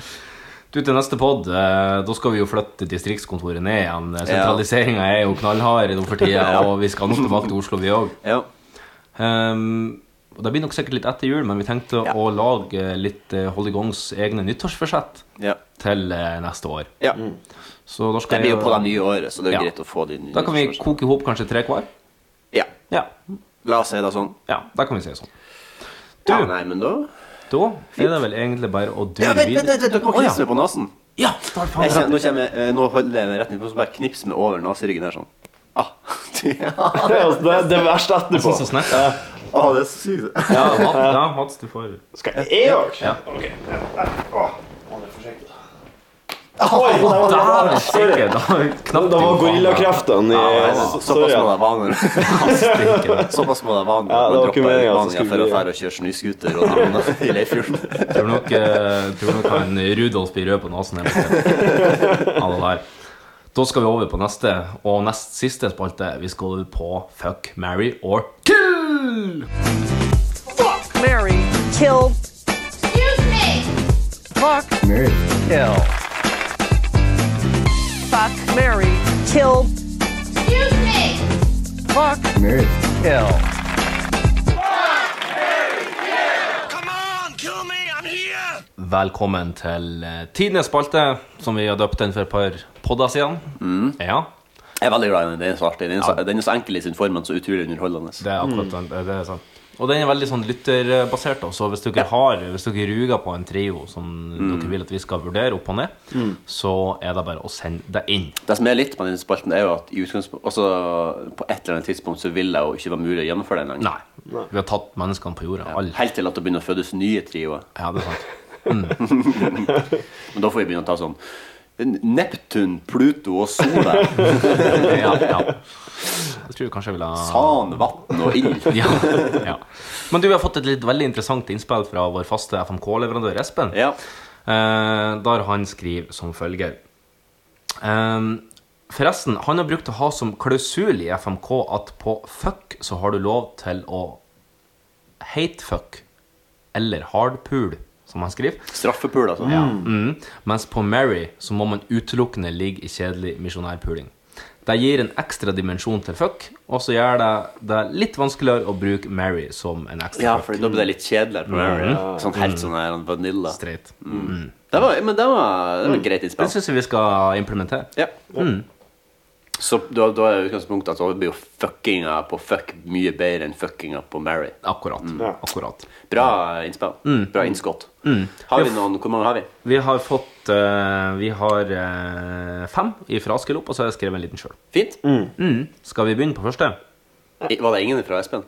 Speaker 2: Du, til neste pod, eh, da skal vi jo flytte distriktskontoret ned igjen. Sentraliseringa er jo knallhard nå *laughs* for tida, og vi skal nok tilbake til Oslo, vi òg.
Speaker 3: Ja.
Speaker 2: Ehm, og Det blir nok sikkert litt etter jul, men vi tenkte å lage litt eh, Holde Gongs egne nyttårsforsett
Speaker 3: Ja.
Speaker 2: til eh, neste år.
Speaker 3: ja.
Speaker 2: Så da skal
Speaker 3: Det blir jo
Speaker 2: jeg-
Speaker 3: på det nye året, så det er jo
Speaker 2: Ja.
Speaker 3: greit å få de nye.
Speaker 2: Da kan vi
Speaker 3: spørsmål.
Speaker 2: koke i hop kanskje tre hver.
Speaker 3: Ja.
Speaker 2: Ja.
Speaker 3: La oss si det sånn.
Speaker 2: ja, da kan vi si det sånn.
Speaker 3: Ja, nei, men da
Speaker 2: Da er det vel egentlig bare å
Speaker 3: ja,
Speaker 2: dure
Speaker 3: Vent, vent,
Speaker 2: videre.
Speaker 3: vent! Dere må
Speaker 2: Å, ja.
Speaker 3: knipse meg på nesen.
Speaker 2: Ja, da er det
Speaker 3: Jeg
Speaker 2: faen
Speaker 3: kjenner,
Speaker 2: rett.
Speaker 3: nå, kommer, jeg- eh, nå holder jeg meg rett innpå, så bare knips meg over neseryggen her sånn. Ah. *laughs*
Speaker 4: Det er altså det, det verste etterpå.
Speaker 2: Sånn som snert.
Speaker 3: ah, det er så sykt.
Speaker 4: *laughs*
Speaker 2: Ja, Mats, ja, Mats, du får
Speaker 4: Skal jeg- jeg gjøre det?
Speaker 2: Ja.
Speaker 4: Ok.
Speaker 2: Dæven stikke! Da har vi knapt gjort faen,
Speaker 4: Da var
Speaker 2: da.
Speaker 4: gorillakreftene i
Speaker 3: Ja, så-
Speaker 4: Sorry.
Speaker 3: Såpass må
Speaker 4: ja.
Speaker 3: det være *laughs* når
Speaker 2: Stikke.
Speaker 3: Såpass må det være når
Speaker 4: Ja, det
Speaker 3: man
Speaker 4: var ikke
Speaker 3: dropper
Speaker 4: meningen at det
Speaker 3: Albania
Speaker 4: skulle
Speaker 3: for å
Speaker 4: bli-
Speaker 3: fære og kjøre snøskuter og drone i Leirfjorden.
Speaker 2: Tror nok, eh, tror nok han Rudolf blir rød på nesen. her borte. Ja, det der. Da skal vi over på neste og nest siste spalte. Vi skal over på Fuck, marry or kill!
Speaker 9: Excuse me. Fuck. Mary. Kill. Fuck. Mary. Kill. Excuse me. Fuck. Mary. Kill.
Speaker 2: velkommen til eh, tidenes spalte, som vi har døpt den for et par podder siden. Ja,
Speaker 3: Jeg er veldig glad i den. Den er så artig. Den er så, den er så enkel i sin form, men så utrolig underholdende.
Speaker 2: det er akkurat den- det, det er sant. Og den er veldig sånn lytterbasert. da, Så hvis dere har, hvis dere ruger på en trio som dere vil at vi skal vurdere opp og ned, så er det bare å sende det inn.
Speaker 3: Det som er litt med den spalten, er jo at i utgangspunktet altså, På et eller annet tidspunkt så vil det jo ikke være mulig å gjennomføre den lenger.
Speaker 2: Nei. Vi har tatt menneskene på jorda. Alle.
Speaker 3: Helt til at det begynner å fødes nye trioer.
Speaker 2: Ja, det er sant. Mm.
Speaker 3: Men da får vi begynne å ta sånn Neptun, Pluto og Sola.
Speaker 2: Ja, ja. Jeg tror kanskje jeg ville ha
Speaker 3: Tan, vann og ild.
Speaker 2: ja, ja. Men du, vi har fått et litt veldig interessant innspill fra vår faste FMK-leverandør Espen.
Speaker 3: Ja.
Speaker 2: Eh, der han skriver som følger. Ehm, forresten, han har brukt å ha som klausul i FMK at på fuck så har du lov til å hate fuck eller hardpool, som han skriver.
Speaker 3: Straffepul, altså.
Speaker 2: Mm. Mens på Mary så må man utelukkende ligge i kjedelig misjonærpuling. Det gir en ekstra dimensjon til fuck, og så gjør det det litt vanskeligere å bruke Mary som en ekstra
Speaker 3: Ja,
Speaker 2: fuck.
Speaker 3: for da blir det litt kjedeligere. på Mary. Sånn helt sånn her vanilla.
Speaker 2: Streit.
Speaker 3: Mm. Det var, men det var, det var et greit
Speaker 2: Mm. Det
Speaker 3: innspill.
Speaker 2: syns jeg vi skal implementere.
Speaker 3: Ja.
Speaker 2: Mm.
Speaker 3: Så da, da er utgangspunktet at da blir jo fuckinga på fuck mye bedre enn fuckinga på Mary.
Speaker 2: Akkurat.
Speaker 3: Mm.
Speaker 2: Akkurat.
Speaker 3: Bra innspill.
Speaker 2: Mm.
Speaker 3: Bra innskott. Har vi noen, Hvor mange har vi?
Speaker 2: Vi har fått eh, Vi har eh, fem fra Askelopp, og så har jeg skrevet en liten sjøl.
Speaker 3: Fint.
Speaker 2: Mm. Skal vi begynne på første?
Speaker 3: I- Var det ingen fra Espen?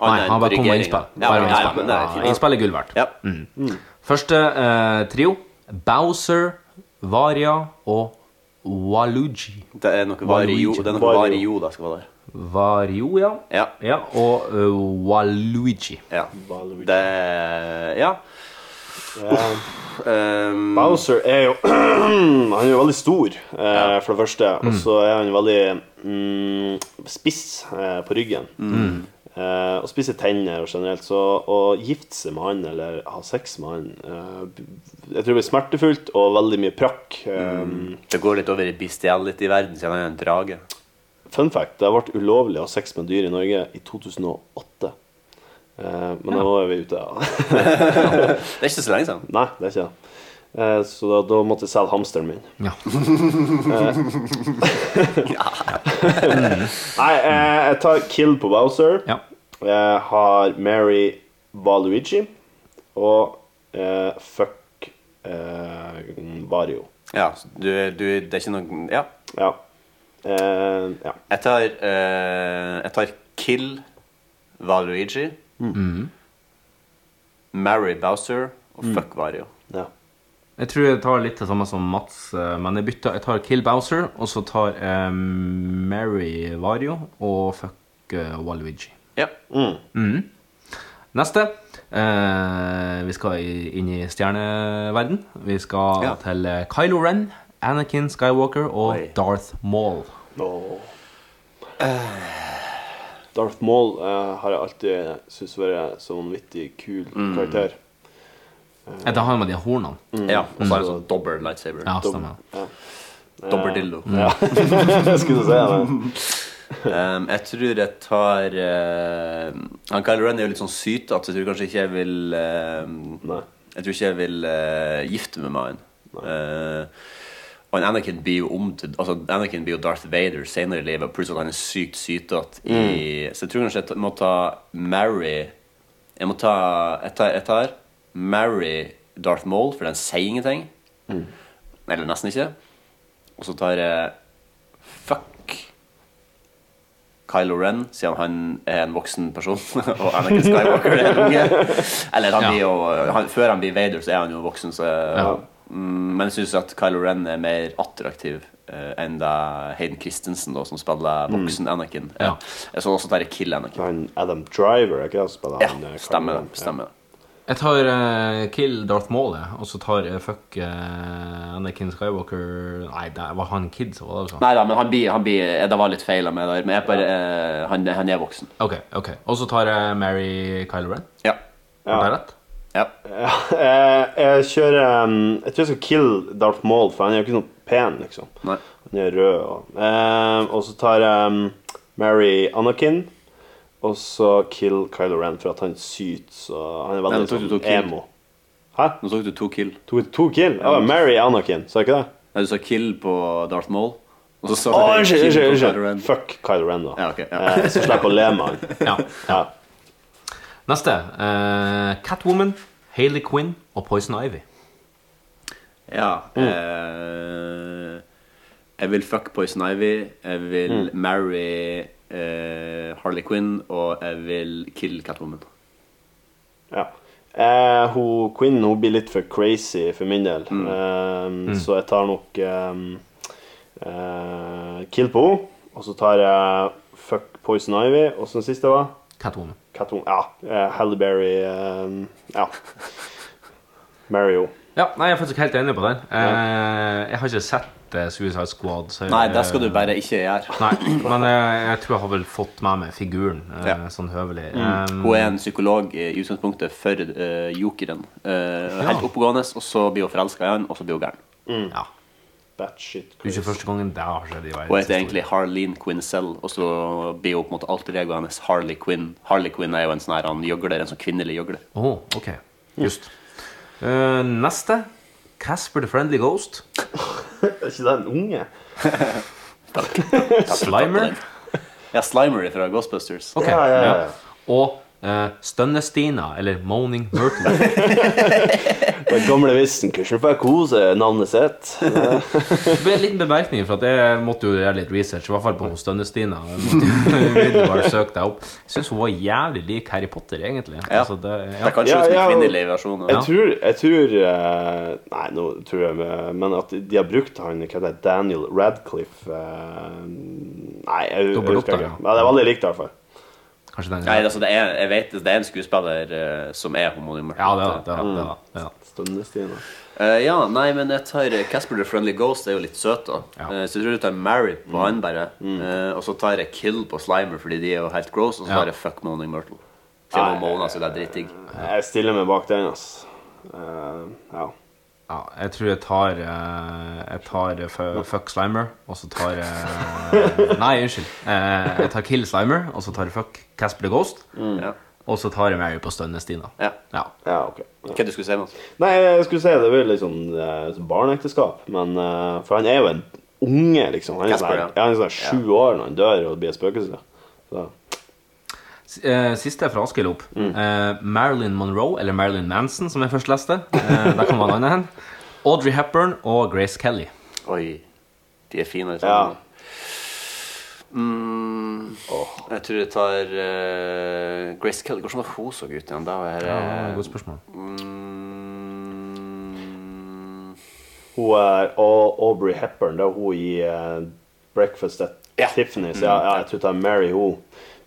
Speaker 2: Nei, han bare kom med innspill.
Speaker 3: Ja,
Speaker 2: Bare med
Speaker 3: ja,
Speaker 2: innspill.
Speaker 3: men det er
Speaker 2: Ja,
Speaker 3: fint.
Speaker 2: innspill er gull verdt. Mm.
Speaker 3: Ja. Mm.
Speaker 2: Første eh, trio Bowser, Varia og Waluigi.
Speaker 3: Det er noe vario,
Speaker 2: Waluigi.
Speaker 3: det er noe vario da skal være der.
Speaker 2: Vario, ja.
Speaker 3: Ja.
Speaker 2: og eh, Waluigi.
Speaker 3: Ja.
Speaker 4: Valuigi.
Speaker 3: Det Ja. Um,
Speaker 4: Bowser er jo *clears throat* Han er jo veldig stor, eh, for det første. Og så er han veldig mm, spiss eh, på ryggen. Eh, og spisse tenner og generelt. Så å gifte seg med han eller ha sex med han eh, Jeg tror det blir smertefullt og veldig mye prakk. Eh,
Speaker 3: det går litt over i bestiality i verden, siden han er en drage.
Speaker 4: Fun fact, det ble ulovlig å ha sex med dyr i Norge i 2008. Eh, men nå er vi ute. *laughs* Ja.
Speaker 3: Det er ikke så lenge siden.
Speaker 4: Nei, det er ikke det. Eh, Så da, da måtte jeg selge hamsteren min.
Speaker 2: Ja.
Speaker 4: Nei, eh, jeg tar Kill på Bowser.
Speaker 2: Ja.
Speaker 4: Jeg har Mary Valuigi og eh, Fuck eh, Vario.
Speaker 3: Ja, så du, du, det er ikke noe Ja.
Speaker 4: Ja. Eh, ja.
Speaker 3: Jeg tar, eh, jeg tar Kill Valuigi, Marry Bowser og Fuck Vario.
Speaker 4: ja.
Speaker 2: *laughs* Jeg tror jeg tar litt det samme som Mats, eh, men jeg bytter. Jeg tar Kill Bowser, og så tar jeg Mary Vario og fuck eh, Waluigi.
Speaker 3: Ja.
Speaker 2: Neste. Eh, vi skal i- inn i stjerneverden. Vi skal
Speaker 3: Ja.
Speaker 2: til eh, Kylo Ren, Anakin Skywalker og
Speaker 3: Oi.
Speaker 2: Darth Maul.
Speaker 4: Åh. Darth Maul eh, har jeg alltid syntes vært så vanvittig kul
Speaker 3: Mm.
Speaker 4: karakter. *laughs*
Speaker 2: Eh, Det har jo med de hornene.
Speaker 3: ja og så er det sånn dobbel lightsaber.
Speaker 2: Ja, stemmer.
Speaker 3: Dobbel dildo.
Speaker 4: Jeg skulle si det.
Speaker 3: Um, jeg tror jeg tar eh, Han Kyle Ren er jo litt sånn sytete, så jeg tror kanskje ikke jeg vil eh,
Speaker 4: Nei.
Speaker 3: Jeg tror ikke jeg vil eh, gifte meg med han. Eh, og en Anakin blir jo om til Altså Anakin blir jo Darth Vader senere i livet, pluss at han er sykt sytete i Så jeg tror kanskje jeg ta- må ta Mary Jeg må ta Jeg tar, jeg tar Mary Darth Maul, for den sier ingenting.
Speaker 2: Mm.
Speaker 3: Eller nesten ikke. Og så tar jeg Fuck Kylo Ren, siden han er en voksen person, *laughs* og Anakin Skywalker er en unge. Eller han
Speaker 2: Ja.
Speaker 3: blir jo han, Før han blir Vader, så er han jo voksen, så mm, Men jeg syns at Kylo Ren er mer attraktiv eh, enn det Hayden Christensen, da, som spiller voksen Anakin.
Speaker 2: Mm. Ja.
Speaker 3: Jeg så også der er Kill Anakin.
Speaker 4: Han Adam Driver, er ikke det han som spiller
Speaker 3: Ja,
Speaker 4: han, eh,
Speaker 3: stemmer
Speaker 4: karakteren?
Speaker 3: det. Stemmer det.
Speaker 2: Jeg tar eh, Kill Darth Maul, jeg, og så tar jeg fuck eh, Anakin Skywalker Nei, det var han Kid som var det, altså.
Speaker 3: Nei da, men han blir, han blir eh, Det var litt feil av meg der, men jeg bare, eh, han, han er voksen.
Speaker 2: OK. ok. Og så tar jeg Mary Kylo Ren.
Speaker 3: Ja.
Speaker 2: Var det rett?
Speaker 3: ja.
Speaker 4: jeg, Eh, jeg kjører ehm, Jeg tror jeg skal kill Darth Maul, for han er jo ikke sånn pen, liksom.
Speaker 3: Nei.
Speaker 4: Han er rød. Og, Ehm, og så tar jeg ehm, Mary Anakin, og så kill Kylo Ren, for at han syter så Han er
Speaker 3: Nei,
Speaker 4: veldig
Speaker 3: du tok- du
Speaker 4: sånn
Speaker 3: tok kill. Mm.
Speaker 4: emo. Hæ?
Speaker 3: Nå tok du to kill.
Speaker 4: To, to kill? Ja, Mary Anakin, sa jeg ikke det?
Speaker 3: Nei, du sa kill på Darth Maul. Og så sa
Speaker 4: Å,
Speaker 3: du
Speaker 4: unnskyld,
Speaker 3: kill
Speaker 4: unnskyld,
Speaker 3: på Kylo Ren.
Speaker 4: unnskyld. Fuck Kylo Ren, da.
Speaker 3: Ja, ok, ja.
Speaker 4: Eh, Så slipper jeg å le
Speaker 3: *laughs*
Speaker 4: med han.
Speaker 2: Ja.
Speaker 4: Ja.
Speaker 2: Neste. eh, Catwoman, Hayley Quinn og Poison Ivy.
Speaker 3: Ja. Eh, jeg vil fuck Poison Ivy. Jeg vil marry eh, Harley Quinn. Og jeg vil kill Catwoman.
Speaker 4: Ja. Eh, hun, Quinn hun blir litt for crazy for min del,
Speaker 2: Mm.
Speaker 4: Eh, så jeg tar nok eh, eh, Kill på henne. Og så tar jeg Fuck Poison Ivy, og så den siste var
Speaker 2: Catwoman.
Speaker 4: Catwoman. Ja. Eh, Halle Berry eh, Ja. Mary henne.
Speaker 2: Ja, nei, Jeg er faktisk helt enig på den. Eh, jeg har ikke sett eh, Suicide Squad. Så,
Speaker 3: Nei, det skal du bare ikke gjøre.
Speaker 2: Nei, men eh, jeg, jeg tror jeg har vel fått med meg figuren eh,
Speaker 3: Ja. Mm.
Speaker 2: sånn høvelig. Um,
Speaker 3: Hun er en psykolog i i utgangspunktet for eh, jokeren. Eh, Helt oppegående, og så blir hun forelska i han, og så blir hun gæren.
Speaker 2: ja.
Speaker 4: Batshit
Speaker 2: Det er ikke
Speaker 4: crazy.
Speaker 2: første gangen det har skjedd i verden.
Speaker 3: Hun heter egentlig Harleen Quincell, og så blir hun på en måte alltid egoet hennes Harley Quinn. Harley Quinn er jo en sånn her han gjøgler, en sånn kvinnelig gjøgler.
Speaker 2: Åh, ok. Just. Eh, neste. Casper the Friendly Ghost.
Speaker 4: Er ikke det en unge?
Speaker 2: Slimer.
Speaker 3: Ja, Slimer fra Ghostbusters.
Speaker 2: Ok,
Speaker 4: Ja, ja, ja, ja.
Speaker 2: Og uh, Stønne-Stina, eller Moaning Myrtle.
Speaker 4: Den gamle vissen. Hvordan får jeg kose navnet sitt?
Speaker 2: Det ble en liten bemerkning, for at jeg måtte jo gjøre litt research. I hvert fall på Stønne-Stina. Jeg måtte jo *laughs* umiddelbart søke deg opp. Jeg syns hun var jævlig lik Harry Potter, egentlig.
Speaker 3: Ja.
Speaker 2: Altså, det,
Speaker 3: Det
Speaker 2: ja.
Speaker 3: er kanskje liksom
Speaker 4: Ja,
Speaker 3: en
Speaker 4: ja, og-
Speaker 3: kvinnelig versjon.
Speaker 4: Jeg
Speaker 3: Ja.
Speaker 4: tror, jeg tror eh, Nei, nå tror jeg med- Men at de har brukt han Hva heter det? Daniel Radcliffe eh, Nei, jeg, jeg
Speaker 2: Dobbelt opp, da,
Speaker 4: husker ikke.
Speaker 2: ja.
Speaker 4: Ja, det er veldig likt, i hvert fall.
Speaker 2: Kanskje den
Speaker 3: Nei, altså, det er, jeg vet det, det er en skuespiller eh, som er homonym.
Speaker 2: Ja, det er det. Er,
Speaker 3: Mm.
Speaker 2: det, er, det, er.
Speaker 4: Stønnestina.
Speaker 3: Eh, ja, nei, men jeg tar eh, Casper the Friendly Ghost er jo litt søt, da.
Speaker 2: Ja. Mm.
Speaker 3: Eh, så jeg tror jeg tar Mary på han, bare. Eh, og så tar jeg Kill på Slimer, fordi de er jo helt gross. Og så
Speaker 2: Ja.
Speaker 3: tar jeg Fuck Moaning Myrtle. Til og med Mona, så det er dritdigg.
Speaker 4: Jeg stiller meg bak den, ass. Eh, ja.
Speaker 2: Ja, jeg tror jeg tar eh, Jeg tar eh, fu- Fuck Slimer, og så tar jeg
Speaker 3: *laughs*
Speaker 2: Nei, unnskyld. Eh, jeg tar Kill Slimer, og så tar jeg Fuck Casper the Ghost.
Speaker 3: Ja.
Speaker 2: Og så tar jeg Mary på stønne-Stina.
Speaker 3: Mm. Ja.
Speaker 2: Ja.
Speaker 4: ja, ok. Ja.
Speaker 3: Hva du skulle si, Mats?
Speaker 4: Nei, jeg skulle si det blir litt sånn eh, sånn barneekteskap, men eh, For han er jo en unge, liksom. Han er
Speaker 3: Kasper,
Speaker 4: sånn
Speaker 3: ja.
Speaker 4: ja, han er sånn sju år når han dør og blir et spøkelse. Så.
Speaker 2: S- eh, Siste er fra Askild opp.
Speaker 4: Mm.
Speaker 2: Eh, Marilyn Monroe, eller Marilyn Manson, som jeg først leste. Eh, der kan man lande hen. Audrey Hepburn og Grace Kelly.
Speaker 3: Oi, de er fine. Liksom.
Speaker 4: Ja.
Speaker 3: Mm, Jeg tror jeg tar eh, Grace Kelly. Hvordan var hun så ut igjen? Da var jeg
Speaker 2: Eh,
Speaker 3: eh,
Speaker 2: Godt spørsmål.
Speaker 3: mm,
Speaker 4: Hun er Au- Aubrey Hepburn, det er hun i eh, Breakfast at
Speaker 3: Ja. Mm.
Speaker 4: Tiffany's. Ja, ja, jeg tror det er Mary hun.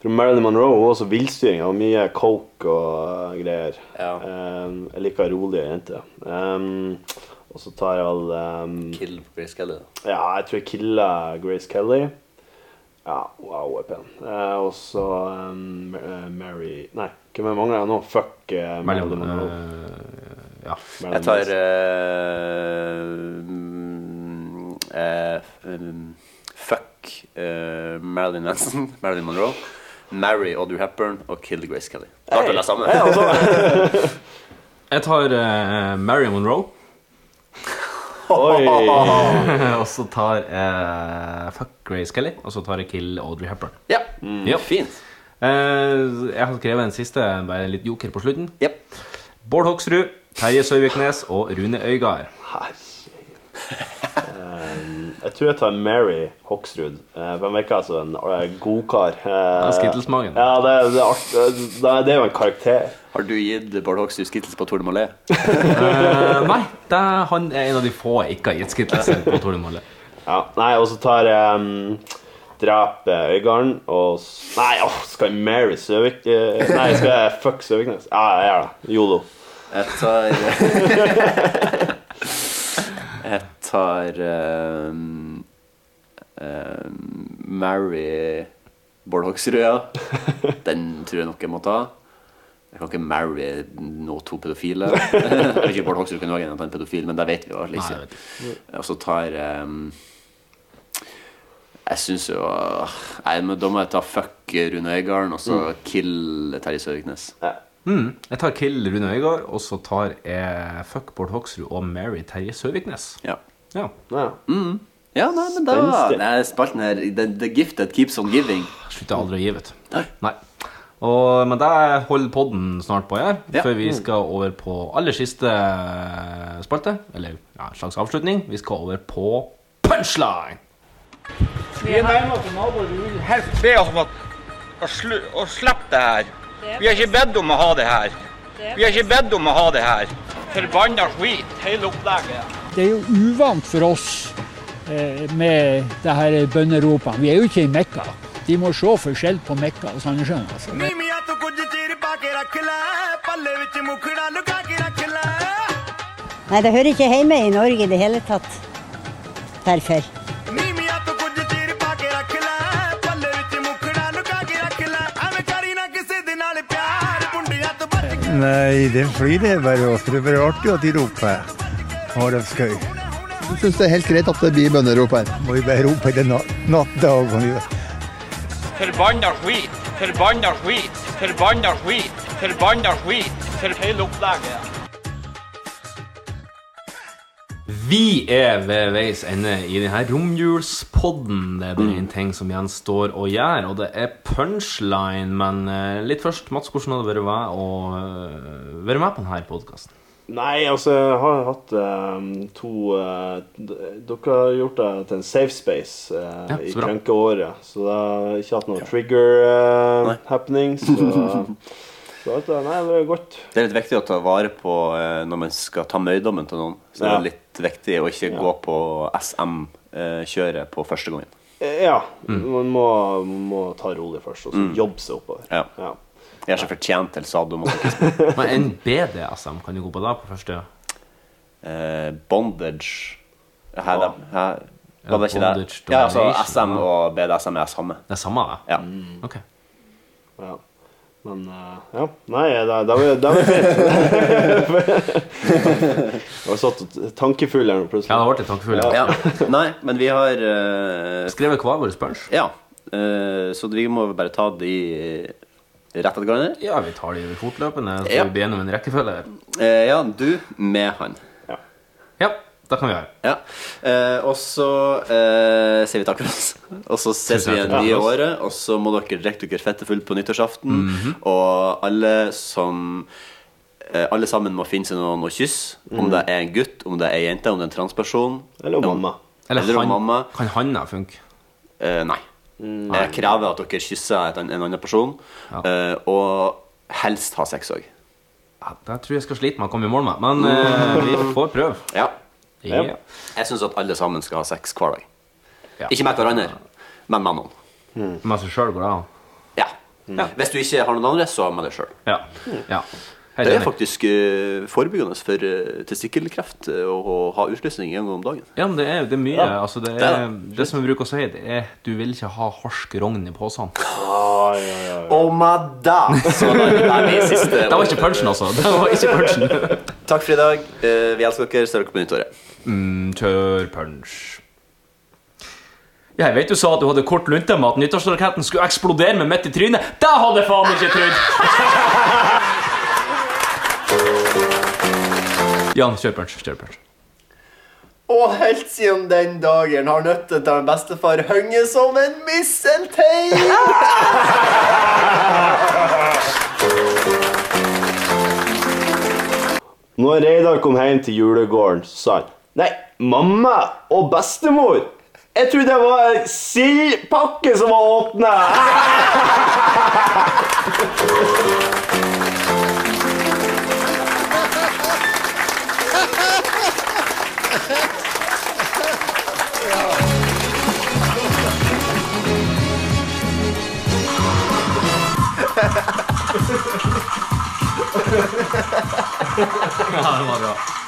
Speaker 4: For Marilyn Monroe hun er også villstyring og mye coke og eh, greier.
Speaker 3: Ja.
Speaker 4: Um, jeg liker rolige jenter. Um, og så tar jeg vel um,
Speaker 3: Kill på Grace Kelly. da.
Speaker 4: Ja, jeg tror jeg killer Grace Kelly. Ja, wow, hun er pen. Eh, og så um, eh, Mary Nei, hvem er mangler jeg nå? Fuck eh, Marilyn
Speaker 2: Marilyn
Speaker 4: Monroe.
Speaker 2: eh, Ja.
Speaker 4: Marilyn
Speaker 3: Jeg tar
Speaker 4: Manson.
Speaker 3: eh, mm, eh, mm, Fuck eh, Marilyn Manson, *laughs* Marilyn Monroe. Marry Audrey Hepburn og kill Grace Kelly. Klarte å lese sammen.
Speaker 2: Jeg tar eh, Marilyn Monroe.
Speaker 4: Oi!
Speaker 2: eh, og så tar jeg Fuck Grace Kelly, og så tar jeg Kill Audrey Hepburn.
Speaker 3: *laughs* ja,
Speaker 2: Ja.
Speaker 3: Mm. fint.
Speaker 2: Eh, jeg har skrevet en siste, bare litt joker på slutten.
Speaker 3: Jep.
Speaker 2: Bård Hoksrud, Terje Søviknes og Rune Øygard.
Speaker 4: Herregud. *laughs* Um, jeg tror jeg tar Mary Hoksrud. eh, For han virker altså en eh, god kar. Uh,
Speaker 2: skittelsmagen.
Speaker 4: Ja, det, er- det, er art, det, er- det er jo en karakter.
Speaker 3: Har du gitt Bård Hoksrud skittles på Tour de Malais?
Speaker 2: Eh, nei, det, han er en av de få jeg ikke har gitt skittelsen på Tordenmolle.
Speaker 4: Ja, nei, og så tar jeg um, Drep eh, Øygarden og s- Nei, åh, skal jeg Mary Søvik eh, Nei, skal jeg fuck Søviknes? Ja, jeg gjør det. Yolo.
Speaker 3: Jeg tar *laughs* Jeg tar ehm, ehm, Mary Bård Hoksrud, ja. Den tror jeg nok jeg må ta. Jeg kan ikke marry no to pedofile.
Speaker 2: *laughs*
Speaker 3: Eller ikke Bård Hoksrud kunne være en at han er pedofil, men det vet vi jo alle
Speaker 2: Nei, jeg vet
Speaker 3: ikke. Og så tar ehm, Jeg syns jo Nei, men da må jeg ta fuck Rune Øygarden og så kill Terje Søviknes.
Speaker 4: Ja,
Speaker 2: Mm. Jeg tar Kill Rune Øygard, og så tar jeg Fuck Bård Hoksrud og Mary Terje Søviknes.
Speaker 3: Ja.
Speaker 2: Ja.
Speaker 4: Ja.
Speaker 3: ja, nei, men da
Speaker 4: Spenstig.
Speaker 3: Nei, spalten her the, the gift that keeps on giving.
Speaker 2: Slutter aldri å gi, vet du.
Speaker 3: Nei.
Speaker 2: Nei. Og, men det holder podden snart på her,
Speaker 3: Ja. Mm.
Speaker 2: før vi skal over på aller siste eh, spalte. Eller ja, en slags avslutning. Vi skal over på punchline!
Speaker 10: helst be oss om at å, slu, å slippe det her. Vi har ikke bedt om å ha det her. Vi har ikke bedt om å ha det her. Forbanna skit, hele opplegget.
Speaker 11: Det er jo uvant for oss eh, med det her bønneropene. Vi er jo ikke i Mekka. De må se forskjell på Mekka og Sandnessjøen. Altså.
Speaker 9: Nei, det hører ikke hjemme i Norge i det hele tatt. Derfor.
Speaker 8: Nei, den flyr det bare også. Det er bare artig at de roper. Å, det er skøy. Jeg syns det er helt greit at det blir bønnerop her. Må vi bare rope i det natt, natt dag.
Speaker 10: Forbanna skit, forbanna skit, forbanna skit, forbanna skit. For hele opplegget.
Speaker 2: Vi er ved veis ende i denne romjulspodden. Det er bare
Speaker 3: Mm.
Speaker 2: én ting som gjenstår å gjøre, og det er punchline. Men eh, litt først, Mats, hvordan har det vært å være- å eh, være med på denne podkasten?
Speaker 4: Nei, altså, jeg har hatt eh, to eh, d- Dere har gjort det til en safe space eh,
Speaker 2: Ja,
Speaker 4: i
Speaker 2: så bra.
Speaker 4: krenkeåret. Så det har ikke hatt noe trigger eh, happening. Så,
Speaker 2: *laughs*
Speaker 4: så alt det Nei, det er godt.
Speaker 3: Det er litt viktig å ta vare på eh, når man skal ta møydommen til noen. Så det
Speaker 4: Ja.
Speaker 3: er litt viktig å ikke gå på SM-kjøret på første gangen.
Speaker 4: Eh, Ja.
Speaker 2: Mm.
Speaker 4: Man må, man må ta rolig først, og så jobbe seg oppover.
Speaker 3: Ja.
Speaker 4: Ja.
Speaker 3: Jeg er ikke fortjent til
Speaker 2: *laughs*
Speaker 3: sadomasochisme.
Speaker 2: Men en
Speaker 3: *laughs*
Speaker 2: BDSM kan jo gå på deg på første.
Speaker 3: Eh, bondage Hæ, det, hæ?
Speaker 2: Ja,
Speaker 3: Var det ikke det?
Speaker 2: bondage,
Speaker 3: Ja, altså
Speaker 2: domination,
Speaker 3: SM og BDSM er samme.
Speaker 2: Det er samme, det?
Speaker 3: Ja.
Speaker 2: Ok.
Speaker 4: ja. Men eh, ja. Nei, det, det, var, det var fint. *laughs*
Speaker 2: *laughs*
Speaker 4: Jeg var satt tankefull her nå
Speaker 2: Ja, det
Speaker 4: plutselig.
Speaker 2: ble litt tankefull.
Speaker 3: *laughs* Ja. Nei, men vi har eh,
Speaker 2: Skrevet hver vår punch?
Speaker 3: Ja. eh, så vi må bare ta de rett etter hverandre.
Speaker 2: Ja, vi tar det i fotløpende, så
Speaker 3: Ja.
Speaker 2: vi blir gjennom en rekkefølge. her.
Speaker 3: Eh, ja, du med han.
Speaker 2: Ja, det kan vi gjøre.
Speaker 3: Ja. Eh, og så eh, sier vi takk for oss. Og så ses vi
Speaker 2: Tusen
Speaker 3: igjen
Speaker 2: takk.
Speaker 3: nye året. Og så må dere drikke dere fette fullt på nyttårsaften.
Speaker 2: Mhm.
Speaker 3: Og alle som eh, Alle sammen må finne seg noen å kysse. Om det er en gutt, om det er ei jente, om det er en transperson.
Speaker 4: Eller mamma.
Speaker 2: Eller,
Speaker 3: Eller om
Speaker 2: han,
Speaker 3: mamma.
Speaker 2: Kan handa funke?
Speaker 3: Eh, nei. Jeg krever at dere kysser et, an- en annen person.
Speaker 2: Ja.
Speaker 3: eh, og helst ha sex òg.
Speaker 2: Ja, det tror jeg skal slite med å komme i mål med, men
Speaker 3: *laughs*
Speaker 2: eh, vi får prøve.
Speaker 3: Ja.
Speaker 2: Ja.
Speaker 3: Jeg syns at alle sammen skal ha sex hver dag.
Speaker 2: Ja.
Speaker 3: Ikke med hverandre, men med noen.
Speaker 2: Med seg sjøl altså, går det an.
Speaker 3: Ja. Hvis du ikke har noen andre, så med deg sjøl.
Speaker 2: Ja. ja. Helt
Speaker 3: Det er
Speaker 2: enig.
Speaker 3: faktisk eh, forebyggende for eh, testikkelkreft eh, å, å ha utløsning en gang om dagen.
Speaker 2: Ja, men det er, det er mye. Altså, det,
Speaker 3: er
Speaker 2: er, det som vi bruker å si, det er du vil ikke ha harsk rogn i posen.
Speaker 3: Og med det så er det min siste
Speaker 2: *laughs* Det var ikke punchen, altså. Det var ikke *laughs* punchen.
Speaker 3: Takk for i dag. Eh, Vi elsker dere. Ser dere på nyttåret.
Speaker 2: Mm, Kjør punch. Jeg vet du sa at du hadde kort lunte med at nyttårsraketten skulle eksplodere med midt i trynet. Det hadde jeg faen ikke trodd! *laughs* Jan, kjør punch. Kjør punch.
Speaker 3: Og helt siden den dagen har nøtten til bestefar hengt som en misseltein.
Speaker 4: Når Reidar kom hjem til julegården, så sa han Nei, mamma og bestemor! Jeg trodde det var en sildpakke som var åpna!
Speaker 2: Ja, det var bra.